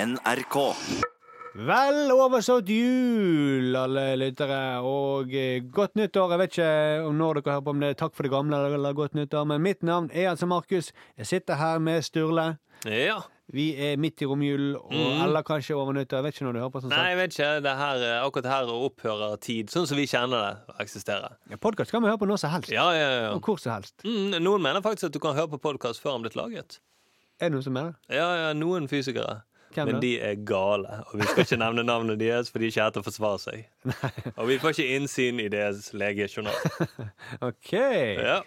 NRK. Vel overstått jul, alle lyttere, og eh, godt nyttår. Jeg vet ikke om når dere hører på om det er takk for det gamle eller godt nyttår, men mitt navn er altså Markus. Jeg sitter her med Sturle. Ja. Vi er midt i romjulen, og- eller kanskje over nyttår. Jeg vet ikke når du hører på. sånn Mm. Nei, sagt. jeg vet ikke. Det her, eh, akkurat her opphører tid, sånn som vi kjenner det å eksistere. Podkast kan vi høre på når som helst, Ja, ja, ja. og hvor som helst. Mm, noen mener faktisk at du kan høre på podkast før den blitt laget. Er det noen som mener det? Ja, ja, noen fysikere. Hvem da? Men de er gale, og vi skal ikke nevne navnet deres, for de er ikke her til å forsvare seg. Og vi får ikke innsyn i deres legejournal. Ok. Ja.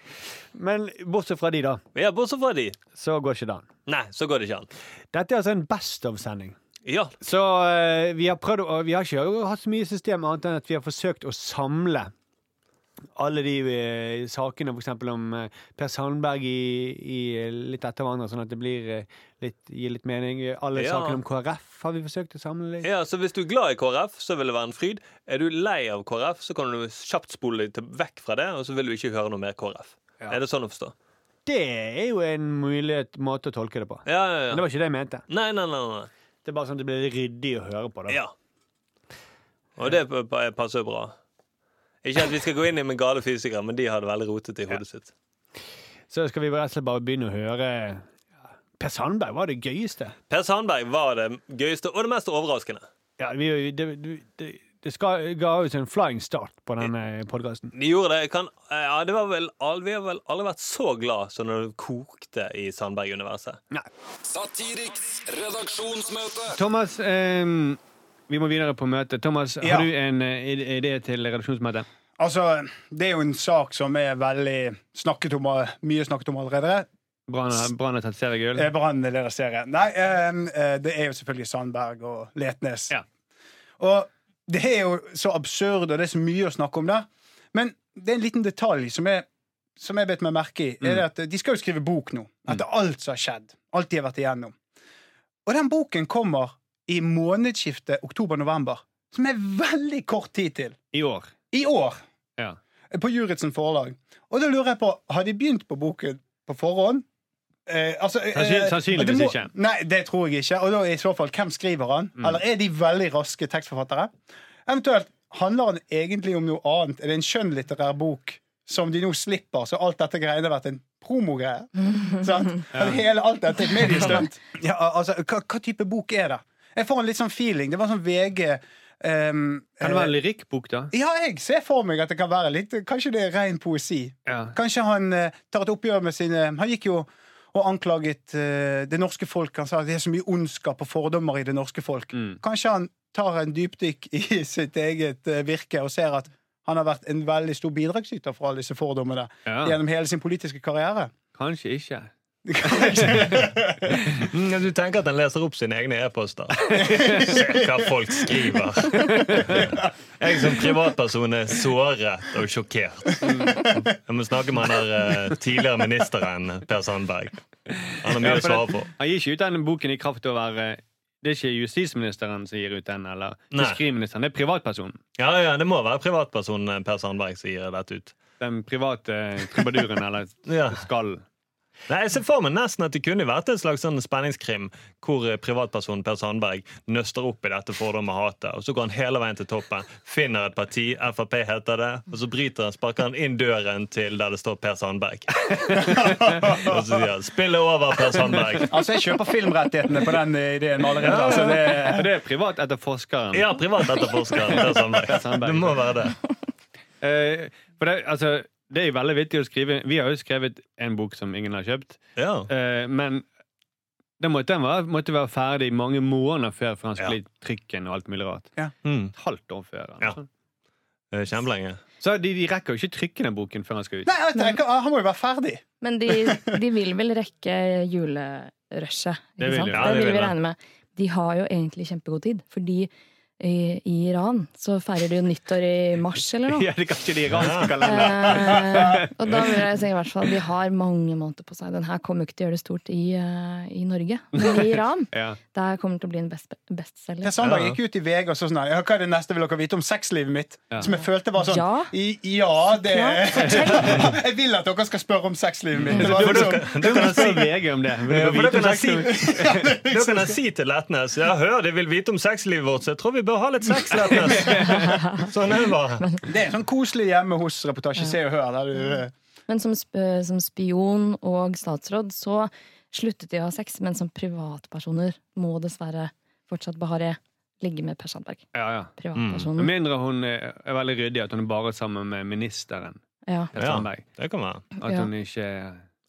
Men bortsett fra de, da, ja, bortsett fra de. så går ikke det an. Nei, så går det ikke an. Dette er altså en best of-sending. Ja, Så eh, vi har prøvd å, Vi har ikke hatt så mye system annet enn at vi har forsøkt å samle alle de eh, sakene f.eks. om eh, Per Sandberg i, i eh, litt etter hverandre, sånn at det blir eh, litt, gir litt mening. Alle Ja. sakene om KrF har vi forsøkt å samle litt. Ja, så Hvis du er glad i KrF, så vil det være en fryd. Er du lei av KrF, så kan du kjapt spole deg til- vekk fra det, og så vil du ikke høre noe mer KrF. Ja. Er det sånn å forstå? Det er jo en mulighet, måte å tolke det på. Ja, ja, Men det ja. var ikke det jeg mente. Nei, nei, nei. nei. Det er bare sånn at det blir ryddig å høre på. Da. Ja. Og det p- p- passer jo bra. Ikke at vi skal gå inn i med gale fysikere, men de har det veldig rotete i hodet sitt. Så skal vi rett og slett bare begynne å høre Per Sandberg var det gøyeste. Per Sandberg var det gøyeste og det mest overraskende. Ja, vi, det, det, det- det skal, ga oss en flying start på denne podkasten. De gjorde det. Jeg Kan, eh, ja, det var vel, al- vi har vel aldri vært så glad som når det kokte i Sandberg-universet. Satiriks redaksjonsmøte. Thomas, ehm, vi må videre på møtet. Thomas, Ja. har du en eh, id- idé til redaksjonsmøtet? Altså, det er jo en sak som er veldig snakket om, og mye snakket om allerede. Brann har- Brann har tatt seriegull? Eh, Brann leder serien. Nei, ehm, eh, det er jo selvfølgelig Sandberg og Letnes. Ja. Og det er jo så absurd, og det er så mye å snakke om der. Men det er en liten detalj som jeg, som jeg bet meg merke i. Er det at eh, De skal jo skrive bok nå, etter alt som har skjedd. Alt de har vært igjennom. Og den boken kommer i månedsskiftet oktober-november, som er veldig kort tid til. I år. I år. Ja. På Juritzen forlag. Og da lurer jeg på, har de begynt på boken på forhånd? Eh, altså, eh, Sannsyn- sannsynligvis det ikke. Mm. Nei, det tror jeg ikke. Og da i så fall, hvem skriver han? Eller er de veldig raske tekstforfattere? Eventuelt, handler han egentlig om noe annet? Er det en skjønnlitterær bok som de nå slipper, så alt dette greiene har vært en promogreie? Sant? At Hele alt dette er et mediestunt. Ja, al- altså, hva, hva type bok er det? Jeg får en litt sånn feeling. Det var sånn VG ehm, Kan det være en lyrikkbok, da? ja, jeg ser for meg at det kan være litt Kanskje det er ren poesi. Ja. Kanskje han eh, tar et oppgjør med sine Han gikk jo og anklaget eh, det norske folk. Han sa at det er så mye ondskap og fordommer i det norske folk. Mm. Kanskje han tar en dypdykk i sitt eget eh, virke og ser at han har vært en veldig stor bidragsyter for alle disse fordommene ja. gjennom hele sin politiske karriere. Kanskje ikke. Du tenker at den leser opp sine egne e-poster. Se hva folk skriver. Jeg som privatperson er såret og sjokkert. Jeg må snakke med han der eh, tidligere ministeren Per Sandberg. Han har mye Ja, å for svare det- på. Han gir ikke ut den boken i kraft av å være Det er ikke justisministeren som gir ut den, eller Nei. fiskeriministeren. Det er privatpersonen. Ja, ja, Det må være eh. privatpersonen Per Sandberg som gir dette ut. Den private eh, trubaduren, eller Ja. skallen. Nei, Jeg ser for meg nesten at det kunne vært en slags sånn spenningskrim hvor eh, privatpersonen Per Sandberg nøster opp i dette fordommet og hatet, og så går han hele veien til toppen, finner et parti, Frp heter det, og så bryter han, sparker han inn døren til der det står Per Sandberg. og så sier han 'spille over, Per Sandberg'. Altså, jeg kjøper filmrettighetene på den eh, ideen allerede. Altså, Og det, det er privat etter forskeren. Ja, privatetterforskeren Per Sandberg. Sandberg. sånn Det må være det. Eh, for det, altså, det er jo veldig vittig å skrive Vi har jo skrevet en bok som ingen har kjøpt, Ja. eh, men den måtte, den være, måtte være ferdig mange måneder før for han skulle i trykken og alt mulig rart. Mm. Et halvt år før. Ja. altså. Eh, Kjempelenge. Så de, de rekker jo ikke trykke den boken før han skal ut. nei, jeg tenker, ah, han må jo være ferdig. Men de, de vil vel rekke julerushet. Det vil ikke sant? de. Ja, det de vil vil vi det. regne med. De har jo egentlig kjempegod tid, fordi i, i Iran så feirer de jo nyttår i mars eller noe. Ja, det kan ikke de iranske kalenderne. Eh, og da vil jeg si i hvert fall de har mange måneder på seg. Den her kommer jo ikke til å gjøre det stort i, eh, i Norge, men i Iran. Ja. Der kommer det til å bli en best- bestselger. Per Sandberg Sånn gikk ut i VG og så sånn her, ja, Hva er det neste vil dere vite om sexlivet mitt? Som jeg følte var sånn Ja. I, ja det Jeg vil at dere skal spørre om sexlivet mitt. Det var For liksom, dere, dere, Si VG om det. Vil Ja, dere for vite dere om kan sex? si, dere kan si til Letnes Ja, hør, de vil vite om sexlivet vårt, så jeg tror vi bør ha litt sex, Letnes. Sånn er det bare. det er sånn koselig hjemme hos-reportasje. Se og hør. Der du, eh, Men som, sp eh, som spion og statsråd så sluttet de å ha sex, men som privatpersoner må dessverre fortsatt Bahareh ligge med Per Sandberg. Ja, ja. Med Privatpersonen. mindre hun eh, er veldig ryddig, at hun er bare sammen med ministeren. Ja. Per Ja, Sandberg. det kan være. At Ja. hun ikke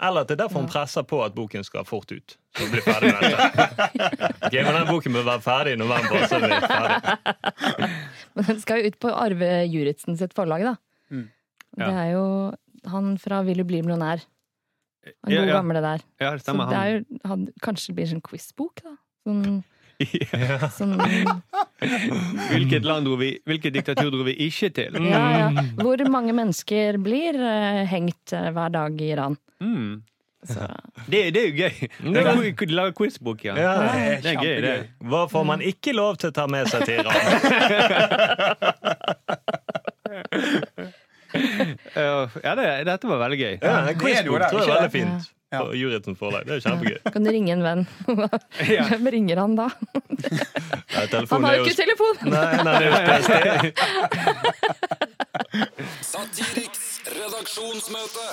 Eller at det er derfor hun presser på at boken skal fort ut. Så vi blir ferdig med dette. Ok, men den boken bør være ferdig i november. Så er vi ferdig. Men den skal jo ut på Arve Juritzen sitt forlag, da. Ja. Det er jo han fra Vil du bli millionær. Han Ja, gode ja. gamle der. Ja, det Så stemmer. det er Han. jo, han, kanskje det blir en sånn quizbok, da. Sånn, Ja. sånn, Hvilket land dro vi Hvilket diktatur dro vi ikke til? Mm. ja, ja. Hvor mange mennesker blir eh, hengt eh, hver dag i Iran? Mm. Så, Det, det er jo gøy. Det er gøy. De lager quizbok, ja. Ja. Det er gøy, det. Hva får man ikke lov til å ta med seg til Iran? Uh, Ja, det, dette var veldig gøy. Ja, det er det en jo, quizbok det er tror jeg er ikke veldig fint. På Juristens forlag. Det er kjempegøy. kan du ringe en venn? Hvem ringer han da? Ja, Han telefonen har er jo jo ikke telefon! Nei, nei, det er jo PST. Satiriks redaksjonsmøte.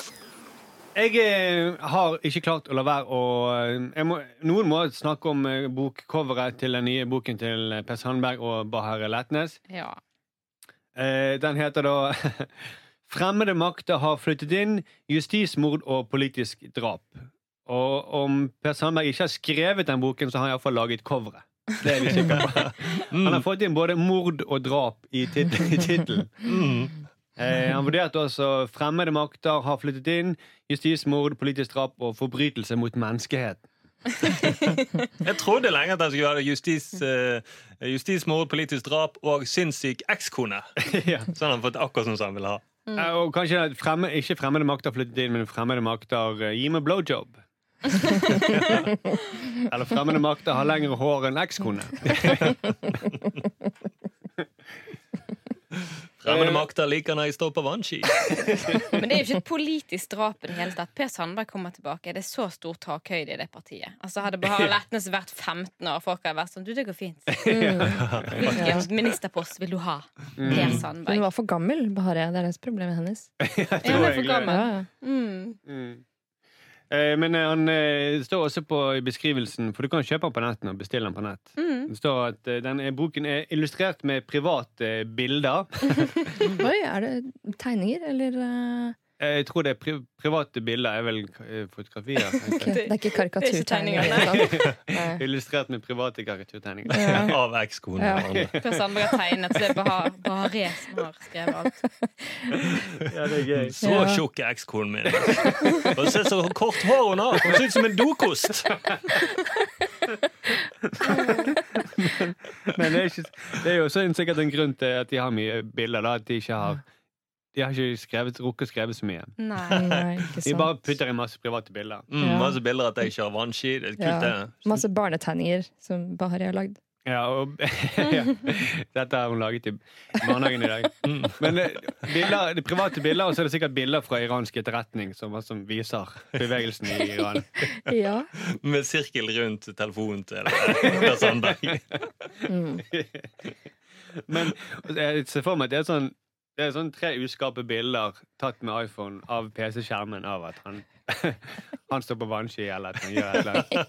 Jeg eh, har ikke klart å la være å eh, jeg må, Noen må snakke om eh, bokcoveret til den nye boken til Per Sandberg og Bahareh Letnes. Ja. Eh, Den heter da 'Fremmede makter har flyttet inn. Justismord og politisk drap'. Og om Per Sandberg ikke har skrevet den boken, så har han iallfall laget coveret. Det er vi sikre på. Han har fått inn både mord og drap i tit- i tittelen. Eh, han vurderte også 'Fremmede makter har flyttet inn', 'justismord, politisk drap og forbrytelse mot menneskeheten'. Jeg trodde lenge at han skulle være justis, eh, justismord, politisk drap og sinnssyk ekskone. ja. Så han har fått akkurat sånn som han ville ha. Mm. Eh, Og kanskje at fremme, ikke fremmede makter flyttet inn, men fremmede makter eh, gi meg blowjob. Eller fremmede makter har lengre hår enn ekskone. Fremmede makter liker når jeg står på vannski. Men det er jo ikke et politisk drap i det hele tatt. Per Sandberg kommer tilbake. Det er så stor takhøyde i det partiet. Altså Hadde Bahar Letnes vært 15 år, folk hadde vært sånn Du, det går fint. Mm. Hvilken ministerpost vil du ha? Mm. Per Hun Sandberg. var for gammel, Bahareh. Det er det som er problemet hennes. Mm. Ja, Hun er for Ja, gammel. ja. Mm. Eh, Men eh, han eh, står også på i beskrivelsen, for du kan kjøpe den på netten og bestille den på nett. Mm. Det står at eh, den er, boken er illustrert med private bilder. Oi, er det tegninger, eller eh, Eh, Jeg tror det er pri private bilder er vel eh, fotografier. ok, Det er ikke karikaturtegninger. Det er ikke ikke sant? Nei. Illustrert med private karikaturtegninger. Av ekskone Ja. og andre. Per Sandberg har tegnet, så det er Bahar- Bahareh som har skrevet alt. Ja, det er gøy. Så Ja. tjukk er ekskonen min. altså. Og se så kort hår hun har! Hun ser ut som en dokost! Men det er, ikke, det er jo også en, sikkert en grunn til at de har mye bilder. da, at De ikke har De har ikke skrevet, rukket å skrive så mye. Nei. Nei, ikke De bare sant. putter inn masse private bilder. Mm, Ja. Masse bilder at jeg kjører vannski. Det er kult, Ja. det. Masse barnetegninger som Bahareh har lagd. Ja, og, ja. Dette har hun laget i barnehagen i dag. Mm. Men eh, bilder, de private bilder, og så er det sikkert bilder fra iransk etterretning som, som viser bevegelsen i Iran. Ja. Med sirkel rundt telefonen til eh, Per Sandberg. Mm. Men altså, jeg ser for meg at det er sånn det er sånn tre uskarpe bilder tatt med iPhone av PC-skjermen av at han, han står på vannski eller at han gjør et eller annet.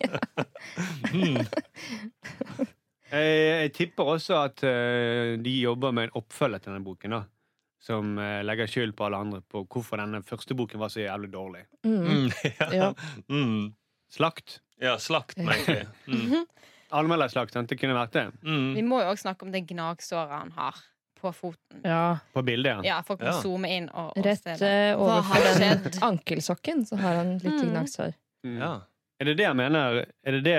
Jeg, jeg tipper også at eh, de jobber med en oppfølger til denne boken, da. Som eh, legger skyld på alle andre på hvorfor denne første boken var så jævlig dårlig. Mm, ja. Ja. Mm. Slakt. ja, slakt meg, egentlig. Mm. Anmelderslakt, sant? Det kunne vært det. Vi Mm. må jo òg snakke om det gnagsåret han har på foten. ja. På bildet, ja. Ja, folk må Ja. zoome inn og, og Rett se det. eh, Hva har overfor den skjedd? ankelsokken så har han litt Mm. gnagsår. Mm. Ja. Er det det jeg mener? Er det det,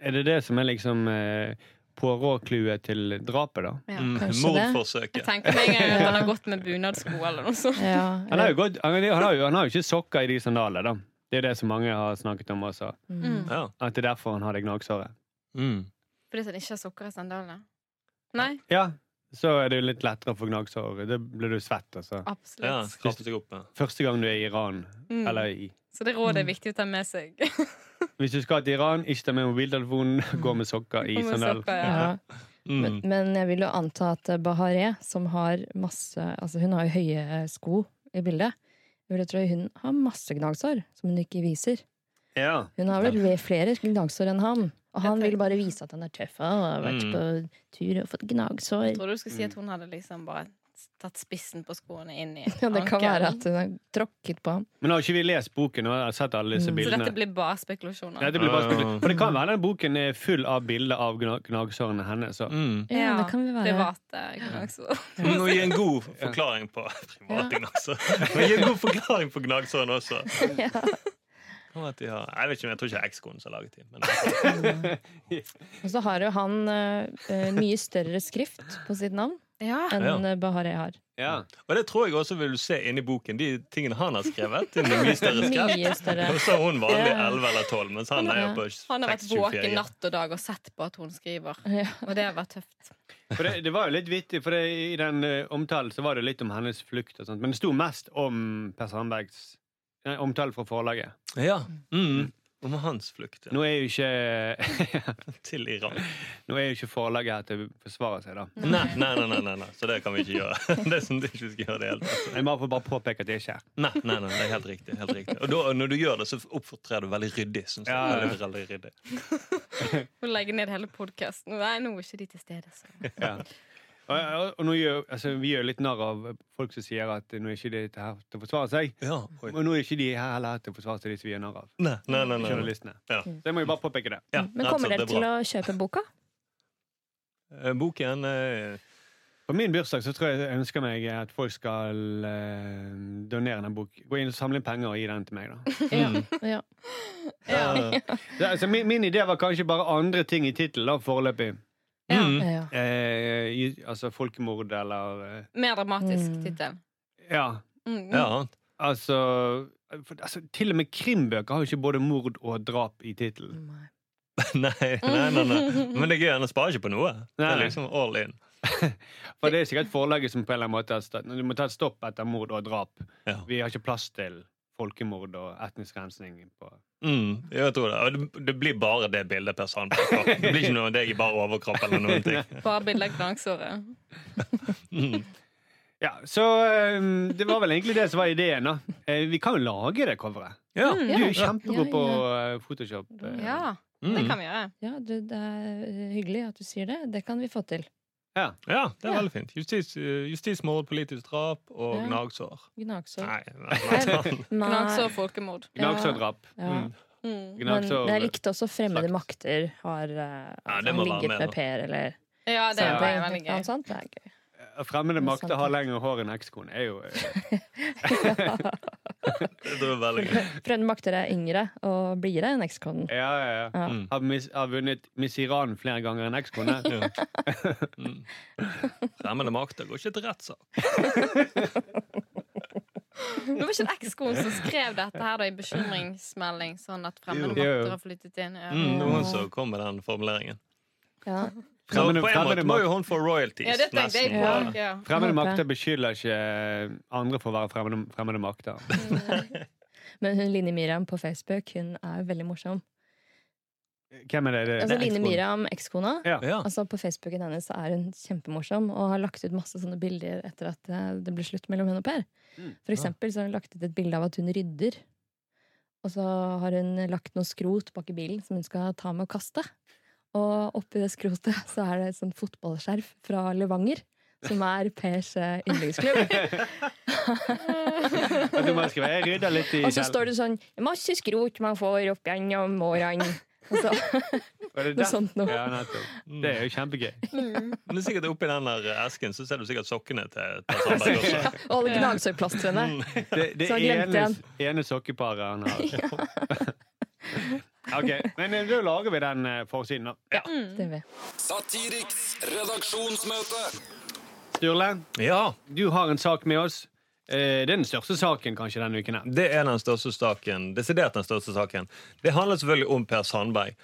er det, det som er liksom eh, påråklue til drapet, da. Ja. Mm, kanskje det. Jeg Mordforsøket. tenker meg en gang at han har gått med bunadsko eller noe sånt. Ja, Han har jo, gått, han har, han har jo, han har jo ikke sokker i de sandalene, da. Det er det som mange har snakket om også. mm. Ja. At det er derfor han har det gnagsåret. Mm. Fordi han ikke har sokker i sandalene. Nei, Ja, så er det jo litt lettere å få gnagsår. Da blir du svett, altså. Ja, absolutt. krampet seg opp. ja. Første gang du er i Iran, Mm. eller i Så det rådet Mm. er viktig å ta med seg. Hvis du skal til Iran, ikke ta med mobiltelefonen, gå med sokker i Om man sandal. sokker, ja. ja. Men, Mm. men jeg vil jo anta at eh, Bahareh, som har masse Altså hun har jo høye sko i bildet. Jeg vil tro hun har masse gnagsår som hun ikke viser. Ja. Hun har vel flere gnagsår enn ham. Og han vil bare vise at han er tøff og har vært Mm. på tur og fått gnagsår. Tror du du skulle si at hun hadde liksom bare tatt spissen på skoene inn i Ja, det kan ankelen? være at hun har tråkket på ham. Men har ikke vi lest boken og har sett alle disse Mm. Så bildene? dette blir bare spekulasjoner. Dette blir bare Ja, ja, ja. spekulasjon. For det kan være den boken er full av bilder av gna- gnagsårene hennes. så- Mm. Ja, det kan vi være. Private gnagsår. Vi må gi en god forklaring på privating, altså. Vi må gi en god forklaring på gnagsåren også. Ja. Kan være at de har, jeg vet ikke, men jeg tror ikke det er ekskonen som har laget dem. Men Og så har jo han eh, eh, mye større skrift på sitt navn Ja. enn Ja. Bahareh har. Ja. Og det tror jeg også vil du se inni boken. De tingene han har skrevet. de er mye større skrevet. Mye større. Og så er hun vanlig Ja. 11 eller 12, mens han er jo på 6, Han har vært 24. våken natt og dag og sett på at hun skriver. Ja. Og det har vært tøft. For det, det var jo litt vittig, for det, i den eh, omtalen så var det litt om hennes flukt og sånt. Men det sto mest om Per Sandbergs eh, omtale fra forlaget. Ja. Mm. Om hans flukt ja. Nå er jo ikke, til Iran. nå er jo ikke forlaget her til å forsvare seg, da. Nei, nei, nei, nei, nei, nei. Så det kan vi ikke gjøre. Det er sånn at vi ikke skal gjøre det helt. Jeg må bare påpeke at det ikke er. Nei, nei, nei, det er helt riktig. Helt riktig. Og da, når du gjør det, så oppfører du veldig ryddig. Synes jeg. Ja, ja. Veldig, veldig ryddig. Hun legger ned hele podkasten. Nei, nå er ikke de til stede. Så. Ja. Og, og, og nå gjør, altså, vi gjør litt narr av folk som sier at nå er ikke de her til å forsvare seg. Ja, oi. Og nå er ikke de her heller til å forsvare seg, de som vi gjør narr av. Nei, nei, nei, nei, nei. Journalistene. Ja. Så jeg må jo bare påpeke det. Ja, Mm. Men rett og kommer slett, dere det er til bra. å kjøpe boka? Eh, Boken eh, På min bursdag så tror jeg jeg ønsker meg at folk skal eh, donere en bok. Gå inn og samle inn penger og gi den til meg, da. Ja. ja. eh, Så, altså, min, min idé var kanskje bare andre ting i tittelen, da, foreløpig. mm. ja. Eh, i- altså folkemord eller eh, Mer dramatisk Mm. tittel. Ja. Mm. Ja. Altså, for, altså Til og med krimbøker har jo ikke både mord og drap i tittelen. Nei. Nei, nei, nei, nei. Men det er gøy, han sparer ikke på noe. Det er Nei. liksom all in. For det er sikkert forlaget som på en eller annen måte har stått Du må ta et stopp etter mord og drap. Ja. Vi har ikke plass til folkemord og etnisk rensning. På. Mm, jeg tror det. Og det- Det blir bare det bildet Per Sandberg får. Det blir ikke noe av deg i bare overkropp eller noen ting. Bare bilde av gnagsåret. Mm. Ja, Så eh, det var vel egentlig det som var ideen. da Eh, Vi kan jo lage det coveret. Ja. Du er jo Mm. Ja. kjempegod Ja, på ja. eh, Photoshop. eh. Ja, det Mm. kan vi gjøre. Ja, du, det er eh, hyggelig at du sier det. Det kan vi få til. ja, det er Ja. veldig fint. Justis, eh, justismord, politisk drap og Ja. gnagsår. Gnagsår. Nei, nei, nei. Nei. Gnagsår, folkemord. Gnagsårdrap. Ja. Mm. Mm. Men Gnagsår- jeg likte også 'Fremmede Slakt. makter' har eh, altså, det han må være ligget med med nå. Per eller Ja, det Sandberg. var veldig Ja, gøy. sant? Det er gøy. Fremmede sant, makter ja. har lengre hår enn ekskone. Er jo eh, Det var veldig gøy. Fremmede makter er yngre og blidere enn ekskonen. Ja, ja, ja. Ja. Mm. Har, mis, har vunnet Miss Iran flere ganger enn eh? ekskone. Ja. Mm. Fremmede makter går ikke til rettssak. Men var ikke det ekskonen som skrev dette her da i bekymringsmelding, sånn at fremmede Jo. Jo. makter har flyttet inn? Ja. Mm, det var hun som kom med den formuleringen. Ja. Så på en Fremmede- måte fremmede må jo mak- hun få royalties. Ja, det tenkte jeg på. nesten, på Ja. det. Ja. Fremmede Håper jeg. makter beskylder ikke eh, andre for å være fremmede, fremmede makter. Men hun Line Miriam på Facebook Hun er jo veldig morsom. Hvem er det? det? Altså det er Line ekskone. Miriam, ekskona. Ja. Ja. Altså På Facebooken hennes så er hun kjempemorsom og har lagt ut masse sånne bilder etter at eh, det ble slutt mellom henne og Per. Mm. For eksempel så har hun lagt ut et bilde av at hun rydder. Og så har hun lagt noe skrot bak i bilen som hun skal ta med og kaste. Og oppi det skrotet så er det et sånt fotballskjerf fra Levanger. Som er Pers eh, yndlingsklubb. At du må skrive, jeg rydder litt i Og så står det sånn 'Masse skrot man får opp gjennom årene'. Og så, det noe sånt noe. Ja, nettopp. Det er jo kjempegøy. Mm. Men sikkert oppi den der esken så ser du sikkert sokkene til Per Sandberg også. og alle gnagsårplastrene. Mm. Det, det Så han glemte ene, ene sokkeparet han har. Ok, Men eh, da lager vi den eh, forsiden, da. Det vet jeg. Satiriks redaksjonsmøte. Sturle, Ja, du har en sak med oss. Eh, Det er den største saken kanskje denne uken. her. Det er den største saken, desidert den største saken. Det handler selvfølgelig om Per Sandberg.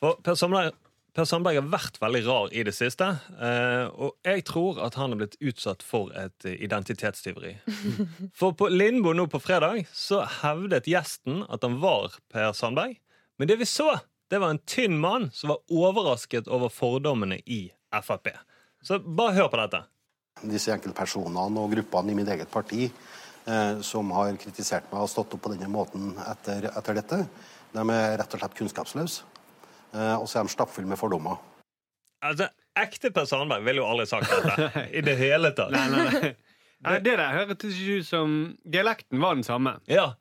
For Per Sandberg, per Sandberg har vært veldig rar i det siste. eh, Og jeg tror at han er blitt utsatt for et eh, identitetstyveri. For på Lindbo nå på fredag så hevdet gjesten at han var Per Sandberg. Men det vi så, det var en tynn mann som var overrasket over fordommene i Frp. Så bare hør på dette. disse enkeltpersonene og gruppene i mitt eget parti eh, som har kritisert meg og stått opp på denne måten etter, etter dette, de er rett og slett kunnskapsløse. Eh, og så er de stappfulle med fordommer. Altså, Ekte Per Sandberg ville jo aldri sagt dette. I det hele tatt. Nei, nei, nei. Nei, Det der hørtes ikke ut som Dialekten var den samme. Ja,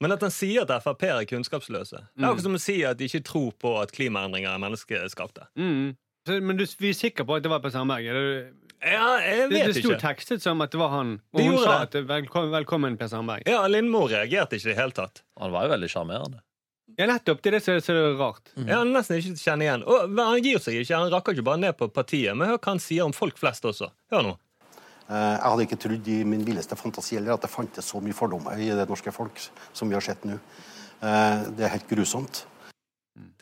Men at han sier at Frp er kunnskapsløse. Det Mm. er akkurat som å si at de ikke tror på at klimaendringer er menneskeskapte. Mm. Så, men du, vi er sikre på at det var Per Sandberg? er det- Ja, jeg Det, vet det sto ikke. tekstet som at det var han. Og Det hun gjorde sa at det. velkommen, 'velkommen, Per Sandberg'. Ja, Lindmo reagerte ikke i det hele tatt. Han var jo veldig sjarmerende. Mm. Ja, nettopp. Det er det som er så rart. Ja, han nesten ikke kjenner igjen. Og men han gir seg ikke, han rakker ikke bare ned på partiet. Men hør hva han sier om folk flest også. Hør nå. Eh, jeg hadde ikke trodd i min villeste fantasi heller at det fantes så mye fordommer i det norske folk som vi har sett nå. Eh, det er helt grusomt.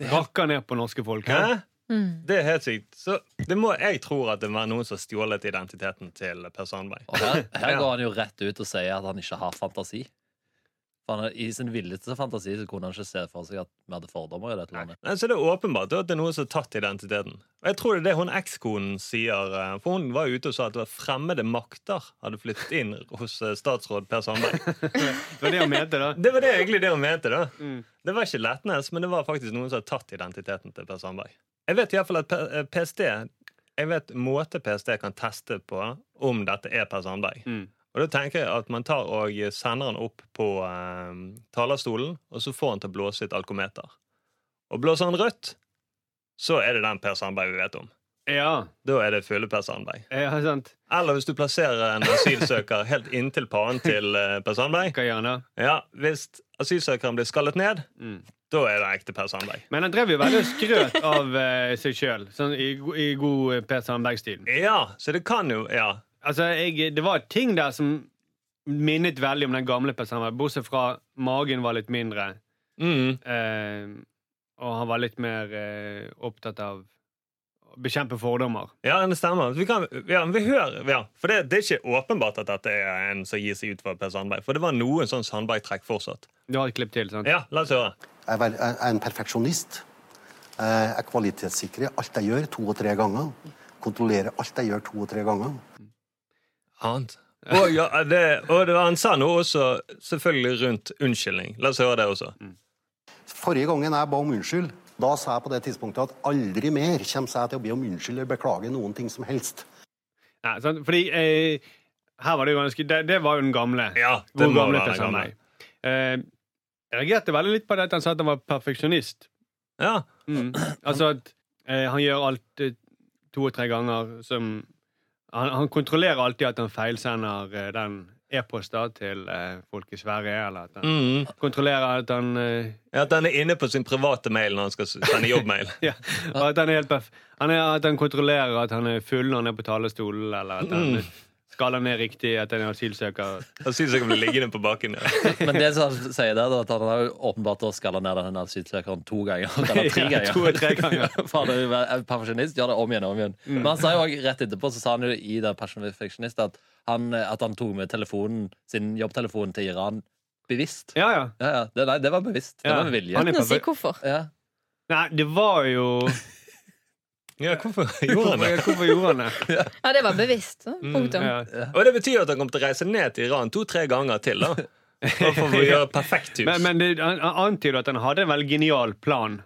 Rakker ned på norske folk. Hæ? ja. Mm. Det er helt sykt. Så det må, jeg tror at det var noen som stjålet identiteten til Per Sandberg. Og her, her Ja. går han jo rett ut og sier at han ikke har fantasi. For han, I sin villeste fantasi så kunne han ikke se for seg at vi hadde fordommer i dette landet. Nei, Så det er åpenbart at det er noen som har tatt identiteten. Og jeg tror det er det hun ekskonen sier. eh, For hun var ute og sa at det var fremmede makter hadde flyttet inn hos eh, statsråd Per Sandberg. Det var det han mente, da. Mm. Det var det egentlig det hun mente, da. Det var ikke Letnes, men det var faktisk noen som hadde tatt identiteten til Per Sandberg. Jeg vet iallfall at P- eh, PST Jeg vet måte PST kan teste på om dette er Per Sandberg. Mm. Og da tenker jeg at man tar og sender han opp på eh, talerstolen, og så får han til å blåse i et alkometer. Og blåser han rødt, så er det den Per Sandberg vi vet om. Ja, Da er det fulle Per Sandberg. ja sant. Eller hvis du plasserer en asylsøker helt inntil paren til eh, Per Sandberg. Hva gjør han da? Ja, Hvis asylsøkeren blir skallet ned, Mm. da er det ekte Per Sandberg. Men han drev jo veldig og skrøt av eh, seg sjøl, sånn i, go- i god eh, Per Sandberg-stil. Ja, så det kan jo Ja. Altså, jeg, Det var ting der som minnet veldig om den gamle Per Sandberg, bortsett fra magen var litt mindre, Mm. eh, og han var litt mer eh, opptatt av å bekjempe fordommer. ja det stemmer. Vi, kan, ja, vi hører, ja. For det, det er ikke åpenbart at dette er en som gir seg ut for Per Sandberg. For det var noen sånn Sandberg-trekk fortsatt. Du har et klipp til, sant? Ja, la oss høre. Jeg er, vel- jeg er en perfeksjonist. Eh, Jeg kvalitetssikrer alt jeg gjør, to og tre ganger. Kontrollerer alt jeg gjør, to og tre ganger. Annet. Og, ja, det, og det var, han sa noe også selvfølgelig rundt unnskyldning. La oss høre det også. Mm, Forrige gangen jeg ba om unnskyld, da sa jeg på det tidspunktet at aldri mer kommer jeg til å be om unnskyld eller beklage noen ting som helst. Nei, sant? Fordi eh, her var det jo ganske Det, det var jo den gamle. Ja, det Hvor må gamle være Per den gamle. Sandberg. Eh, jeg reagerte veldig litt på det at han sa at han var perfeksjonist. Ja, Mm. Altså at eh, han gjør alt eh, to og tre ganger som Han, han kontrollerer alltid at han feilsender eh, den e-posten til eh, folk i Sverige, eller at han mm. kontrollerer at han eh, Ja, At han er inne på sin private mail når han skal sende jobbmail. ja, At han er helt perf han er, At han kontrollerer at han er full når han er på talerstolen, eller at Mm. han skaller ned riktig, at han er asylsøker. Han synes jeg kan bli liggende på bakken. Ja. Men det som han sier der, da, at han har jo åpenbart da skalla ned den asylsøkeren to ganger. Eller tre Ja, ganger. to og tre ganger. Mm. For han er jo en perfeksjonist. Gjør det om igjen og om igjen. Men han sa jo også rett etterpå så sa han jo i den perfeksjonist at, han- at han tok med telefonen, sin jobbtelefon til Iran bevisst. Ja, ja. Ja, ja. Det, nei, det var bevisst. Det Ja. var med vilje. Han er Uten å si perfekt. hvorfor. Ja. Nei, det var jo Ja, hvorfor gjorde han det? Hvorfor gjorde han det? Ja, det var bevisst. så. Punktum. Mm, Ja. Mm, Og det betyr at han kommer til å reise ned til Iran to-tre ganger til. da Bare for å gjøre perfekt hus. Men, men det, han han antyder at han hadde en veldig genial plan.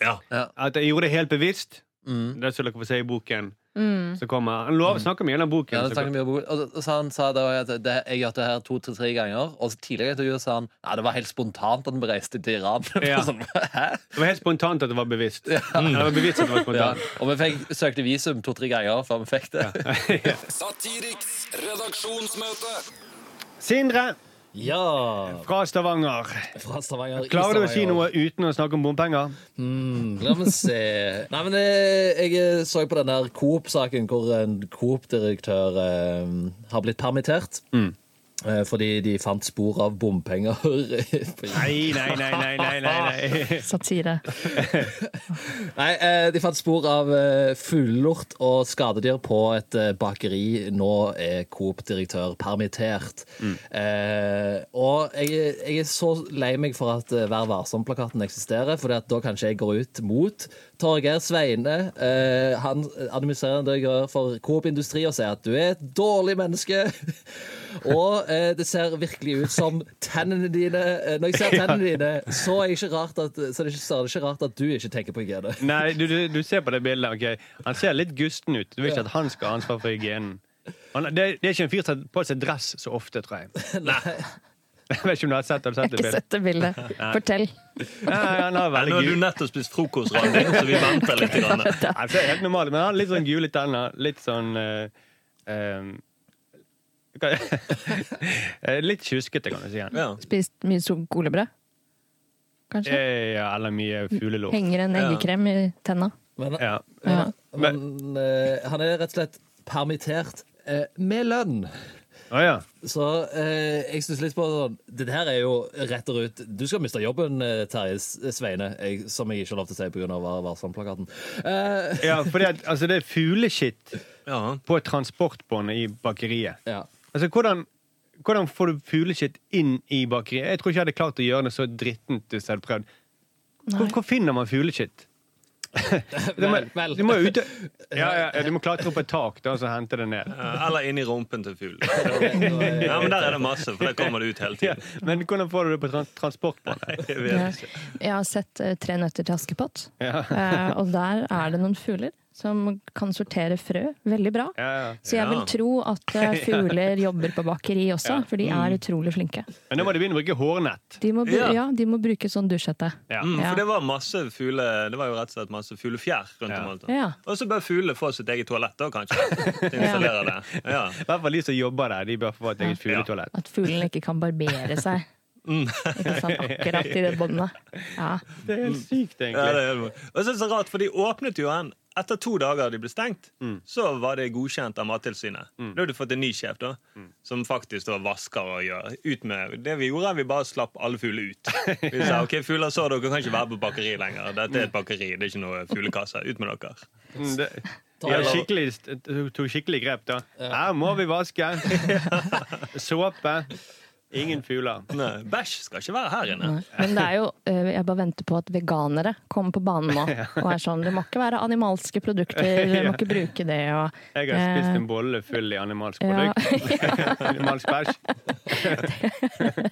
Ja. At jeg gjorde det helt bevisst. Mm. Det skal dere få se i boken. Mm. Så kommer, han lov, snakker mye om den boken. Ja, så det snakket mye om bok. Og og så han sa det, at det, jeg gjør det her to-tre ganger. Og så tidligere i intervjuet sa han Nei, det var helt spontant at vi reiste til Iran. Ja. sånn, Hæ? det var helt spontant at det var bevisst. Mm. Ja, det var bevisst at det var Ja. spontant. Og vi fikk, søkte visum to-tre ganger før vi fikk det. Satiriks redaksjonsmøte. Sindre, Ja! Fra Stavanger. Fra Stavanger. i Klarer du å si Stavanger. noe uten å snakke om bompenger? Mm, la meg se Nei, men eh, jeg så på den der Coop-saken hvor en Coop-direktør eh, har blitt permittert. Mm. Eh, Fordi de fant spor av bompenger. Nei, Nei, nei, nei, nei, nei, nei, nei. Satire. eh, de fant spor av eh, fuglelort og skadedyr på et eh, bakeri. Nå er Coop-direktør permittert. Eh, og jeg, jeg er så lei meg for at eh, Vær varsom-plakaten eksisterer, for da kanskje jeg går ut mot Torgeir Sveine. Eh, han administrerer det jeg gjør for Coop Industri og sier at du er et dårlig menneske. og eh, det ser virkelig ut som tennene dine eh, Når jeg ser tennene dine, så er, jeg ikke rart at, så er det ikke, så er det ikke rart at du ikke tenker på hygiene. Nei, du, du, du ser på det bildet. ok Han ser litt gusten ut. Du vil ikke at han skal ha ansvar for hygienen. Han, det, det er ikke en fyr som tar på seg dress så ofte, tror jeg. Jeg vet ikke om du har sett, har du Jeg har sett det ikke bildet? sett det bildet. Fortell. Nei, han har Nå veldig gul. har du nettopp spist frokost, Randi, så vi venter litt. Grann. Nei, det er helt normalt, men han har litt sånn gule tenner. Litt sånn eh, eh, hva- Eh, Litt tjuskete, kan du si. Han. Ja. Spist mye skolebrød? Kanskje? Eh, Ja, eller mye fuglelort. Henger en eggekrem i tenna? Men, Ja. Ja. men eh, han er rett og slett permittert eh, med lønn. Å ja. Så eh, jeg stusser litt på sånn Det her er jo rett og ut Du skal miste jobben, eh, Terje S- Sveine, jeg, som jeg ikke har lov til å si pga. Vær varsom-plakaten. Eh, ja fordi at, altså, det er fugleskitt Ja. på transportbåndet i bakeriet. ja. Altså, hvordan, hvordan får du fugleskitt inn i bakeriet? Jeg tror ikke jeg hadde klart å gjøre det så drittent hvis jeg hadde prøvd. Hvor, hvor finner man fugleskitt? Du må, Vel, vel. du må jo ut ja, ja, ja, du må klatre opp et tak da, og så hente det ned. Eller inni rumpen til fuglen. Ja, men der er det masse, for der kommer det ut hele Ja, tiden. men hvordan får du det på trans transportbåndet? Jeg vet Jeg, ikke. jeg har sett eh, Tre nøtter til Askepott, Eh, og der er det noen fugler som kan sortere frø veldig bra. Ja, ja. Så jeg vil Ja. tro at eh, fugler jobber på bakeri også, for de Mm. er utrolig flinke. Men da må du begynne å bruke hårnett. De må, bru- Ja. ja, de må bruke sånn dusjhette. Ja. Mm, Ja. for det var masse fugle, det var jo rett og slett masse fuglefjær rundt om alt. Ja. Og så bør fuglene få sitt eget toalett da, kanskje. Til å installere det. Ja. I hvert fall de som jobber der, de bør få et eget fugletoalett. At fuglene ikke kan barbere seg. Mm. Ikke sant? Akkurat i det båndet. Ja. Det er helt sykt, Mm. Ja, det egentlig. er, det. og så er det så rart, for de åpnet jo en etter to dager de ble stengt, Mm. så var det godkjent av Mattilsynet. Da hadde du fått en ny sjef, da, Mm. som faktisk da vasker og gjør. Ut med Det vi gjorde, vi bare slapp alle fugler ut. Vi sa OK, fugler så dere kan ikke være på bakeri lenger. Dette er et bakeri, det er ikke noe fuglekasse. Ut med dere. Mm, det de har skikkelig, tok skikkelig grep, da. Her må vi vaske. Såpe. Ingen fugler. Nei, Bæsj skal ikke være her inne. Men det er jo, eh, jeg bare venter på at veganere kommer på banen nå. Og er sånn, Det må ikke være animalske produkter, dere må ikke bruke det. Og, Jeg har eh, spist en bolle full i animalsk ja. produkt. Animalsk bæsj.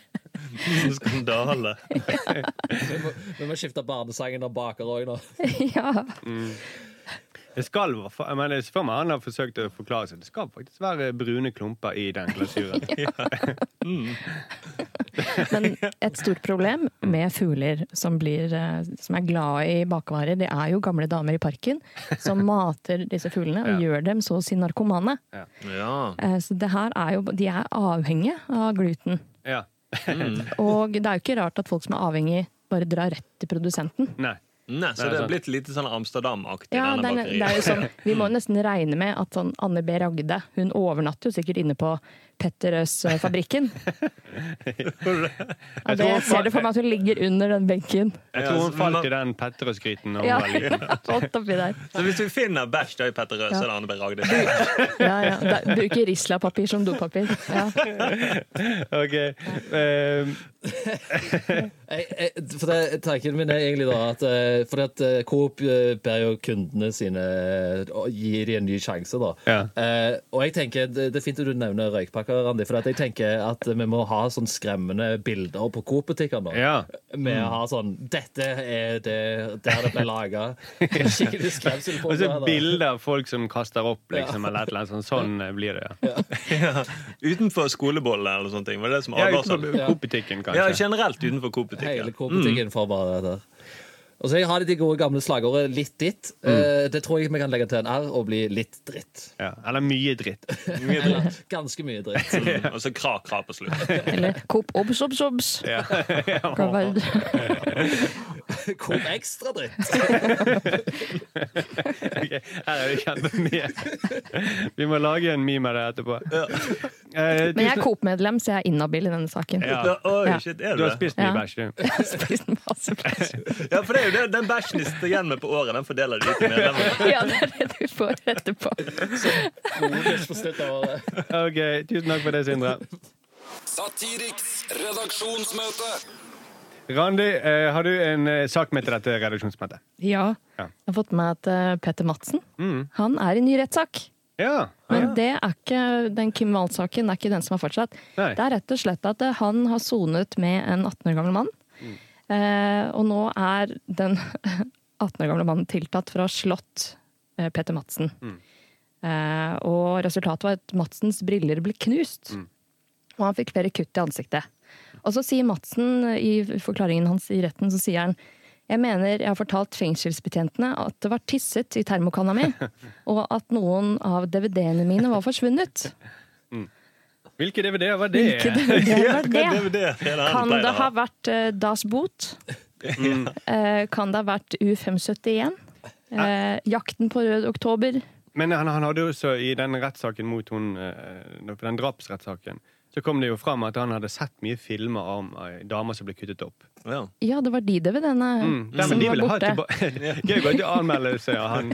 Skandale. Vi må, vi må skifte barnesangen og baker òg nå. ja. Mm. Det skal, være- men jeg ser for meg han har forsøkt å forklare seg. Det skal faktisk være brune klumper i den glasuren. Mm. Men et stort problem med fugler som, blir, eh, som er glade i bakevarer, det er jo gamle damer i parken som mater disse fuglene og gjør dem så å si narkomane. Ja. Eh, Så det her er jo, de er avhengige av gluten. Ja. Mm. Og det er jo ikke rart at folk som er avhengig, bare drar rett til produsenten. Nei. Nei, så Nei, det er sant. blitt litt sånn Amsterdam-aktig, Ja, det denne er, det er jo sånn, bakeriet. Vi må nesten regne med at sånn Anne B. Ragde hun overnatter jo sikkert inne på Petter eh, Øes-fabrikken. Og det, jeg ser det for meg at hun ligger under den benken. Jeg Ja, tror hun så- falt i den Petterøes-gryten. da hun Ja, var liten. Godt oppi der. Så hvis vi finner bæsj da i Petter Røse Ja. eller Anne B. Ragde Ja, ja. Da, bruker Risla-papir som dopapir. Ja. Ok. Eh, Jeg, jeg, for det, tanken min er egentlig da at, eh, fordi at eh, Coop eh, ber jo kundene sine eh, å gi dem en ny sjanse, da. Ja. Eh, og jeg tenker, det, det er fint at du nevner røykpakker, Randi, for at jeg tenker at vi må ha sånn skremmende bilder på Coop-butikker nå. ja. Med å ha sånn 'Dette er det der det ble laga'. Skikkelig skremsel på Og så det, da. bilder av folk som kaster opp, liksom. Eller et eller annet sånt. Sånn eh, blir det, ja. utenfor skolebollene eller sånne ting. Var det det som Ja, advarsel? utenfor Mm. Coop-butikken, Ja, kanskje. generelt utenfor Coop-butikken. Hele Coop-butikken får bare det der. Og så jeg har de gode gamle slagordet 'litt ditt'. Mm. Eh, det tror jeg vi kan legge til en R og bli litt dritt. Ja, eller mye dritt. Eller ganske mye dritt. Og så kra-kra på slutt. Eller Coop Obs Obs Obs. Kan være- Kom ekstra dritt. Ok, Her er det kjempemye. Vi må lage en meme av det etterpå. Eh, Men jeg er tusen- Coop-medlem, så jeg er inhabil i denne saken. Ja. Oi, Ja. shit, er Du har det det? spist mye Ja. bæsj, du. Jeg har spist masse bæsj. Ja, for det er jo det, Den bæsjen de sitter igjen med på året, den fordeler de ut til medlemmene. Ja, det er det du får etterpå. Ok, Tusen takk for det, Sindre. Satiriks redaksjonsmøte. Randi, eh, har du en eh, sak med til dette redaksjonsmøtet? Ja. Ja. Jeg har fått med at eh, Petter Madsen Mm. han er i ny rettssak. Ja. Men det er ikke den Kim Wahl-saken er ikke den som har fortsatt. Nei. Det er rett og slett at eh, han har sonet med en 18 år gammel mann. Eh, og nå er den 18 år gamle mannen tiltatt for å ha slått eh, Peter Madsen. Mm. Eh, og resultatet var at Madsens briller ble knust. Mm. Og han fikk flere kutt i ansiktet. Og så sier Madsen eh, i forklaringen hans i retten, så sier han jeg mener jeg har fortalt fengselsbetjentene at det var tisset i termokanna mi, og at noen av DVD-ene mine var forsvunnet. Hvilke DVD-er var det? Hvilke DVD-er var det? Det er jo det hele han Kan pleier det å ha ha. vært eh, Das Boot? Mm. Eh, kan det ha vært U571? Eh, jakten på rød oktober? Men han, han hadde jo også i den rettssaken mot hun eh, For den drapsrettssaken så kom det jo fram at han hadde sett mye filmer om eh, damer som ble kuttet opp. Ja. Ja, det var de DVD-ene Mm. Nei, men som de var vil ha borte. tilba- Gøy å gå til anmeldelse av han.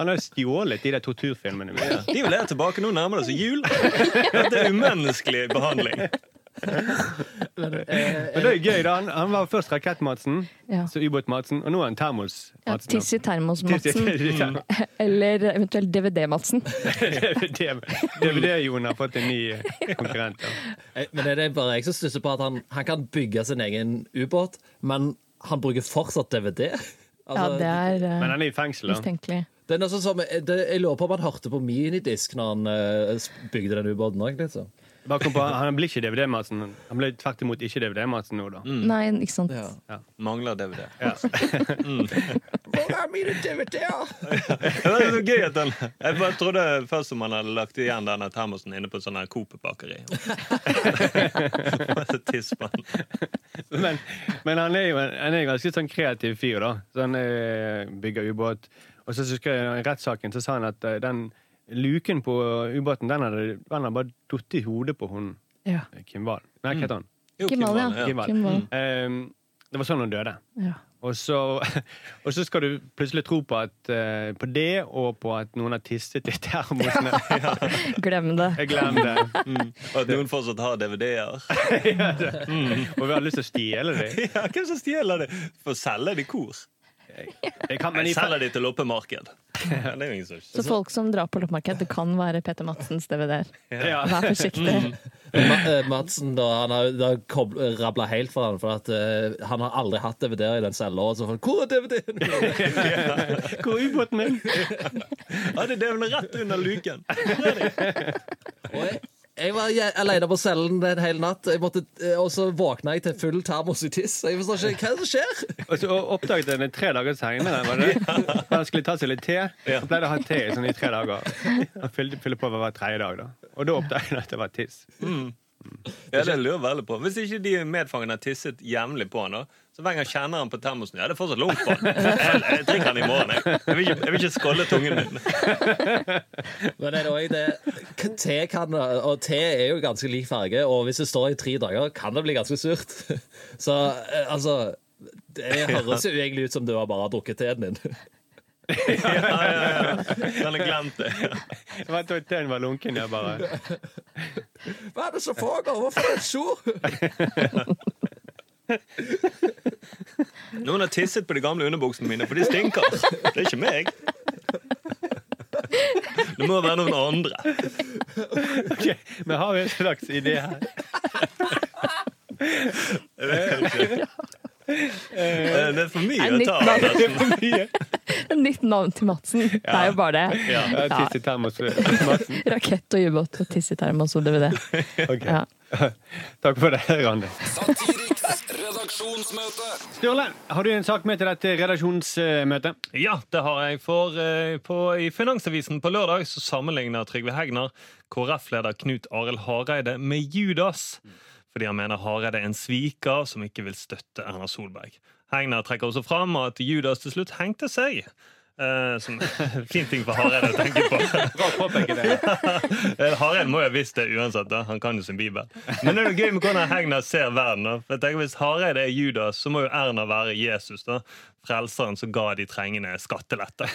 Han har jo stjålet de der torturfilmene mine. De vil ha tilbake nå nærmer det seg jul. Dette er umenneskelig behandling. Men det er gøy da, Han, han var først Rakett-Madsen, Ja. så Ubåt-Madsen, og nå er han Ja, Termos-Madsen. Tiss i termos-Madsen, eller eventuelt DVD-Madsen. DVD-Jon har fått en ny eh, konkurrent. ja. Eh, Men er det bare jeg som stusser på at han, han kan bygge sin egen ubåt, men han bruker fortsatt DVD? Ja, Altså, det er eh, Men han er i fengsel, da. mistenkelig. det er noe sånn som, det, jeg lurer på om han hørte på minidisk når han eh, s- bygde den ubåten òg. Liksom. Bare kom på, han blir ikke DVD-Madsen. Han ble tvert imot ikke DVD-Madsen nå, da. Nei, ikke sant. Ja. Mangler DVD. Hvor er mine DVD-er? Mm. Det var så gøy at den Jeg bare trodde først om han hadde lagt igjen denne termosen inne på et sånt her Coop-bakeri. Og så tisper han. Men, men han er jo en, han er en ganske sånn kreativ fyr, da. Så han eh, bygger ubåt. Og så husker jeg i rettssaken så sa han at eh, den luken på ubåten, den hadde, den hadde bare falt i hodet på hun Ja. eh, Kim Wahl. Nei, hva heter han? Jo, Mm. Kim Wahl, ja. Wahl, Kim Wahl. Kim Wahl. Eh, det var sånn hun døde. Ja. Og så, og så skal du plutselig tro på, at, eh, på det, og på at noen har tisset i termosene. Glem det. Jeg glemmer det. Mm. Og at noen fortsatt har DVD-er. Mm. Og vi har lyst til å stjele det. Ja, hvem som stjeler det? For selger de kor? Jeg kan, men Nei, i, selger de til loppemarked? Ja, Det er jo ingen som Så folk som drar på loppemarked, det kan være Petter Madsens DVD-er. ja. Mm. Vær Mm. forsiktig. Ma- eh, Madsen da, han har, det har kobl- rablet helt for han, for at eh, han har aldri hatt DVD-er i den cella. og så får han, Hvor er DVD-en? Hvor er ubåten min? Ja, det er vel rett under luken. Og jeg, jeg var je- alene på cellen en hel natt, jeg måtte, eh, og så våkna jeg til full termos i tiss. Jeg forstår ikke hva er det som skjer. Og så oppdaget jeg det tre dager senere. Var det? For Han skulle ta seg litt te. Han pleide å ha te i sånn i tre dager. Han fylte, fyller på hver tredje dag, da. Og da oppdaget han at det var tiss. Ja, det lurer jeg veldig på. Hvis ikke de medfangene Mm. har tisset jevnlig på han, da, så hver gang jeg kjenner han på termosen Ja, det er fortsatt lunt på han. Jeg, jeg drikker han i morgen, jeg. Jeg vil ikke, jeg vil ikke skålle tungen min. Men er det også det, k- te kan, og te er jo ganske lik farge, og hvis det står i tre dager, kan det bli ganske surt. Så eh, altså Det høres jo egentlig ut som du har bare drukket teen din. Ja, ja, ja. Han har glemt det. Jeg var teen var lunken, jeg bare. Hva er det som foregår? Hvorfor er det sur? Noen har tisset på de gamle underbuksene mine, for de stinker. Det er ikke meg. Det må være noen andre. Ok, Men har vi en slags idé her? Eh, Det er for mye å Nytt ta. altså. navn, Det er for mye. nytt navn til Madsen. Det er jo bare det. Ja, tiss i termos. Madsen. Rakett og ubåt og tiss i termos og DVD. Ok. Ja. Takk for det, Randi. Satiriks Redaksjonsmøte. Sturle, har du en sak med til dette redaksjonsmøtet? Ja, det har jeg. For eh, på, i Finansavisen på lørdag så sammenligner Trygve Hegnar KrF-leder Knut Arild Hareide med Judas. Fordi han mener Hareide er en sviker som ikke vil støtte Erna Solberg. Hegnar trekker også fram at Judas til slutt hengte seg. Eh, som Fin ting for Hareide å tenke på. Bra påpeke det. Eh, Hareide må jo ha visst det uansett. da Han kan jo sin bibel. Men det er jo gøy med hvordan Hegnar ser verden. da For jeg tenker Hvis Hareide er Judas, så må jo Erna være Jesus. da Frelseren som ga de trengende skattelette.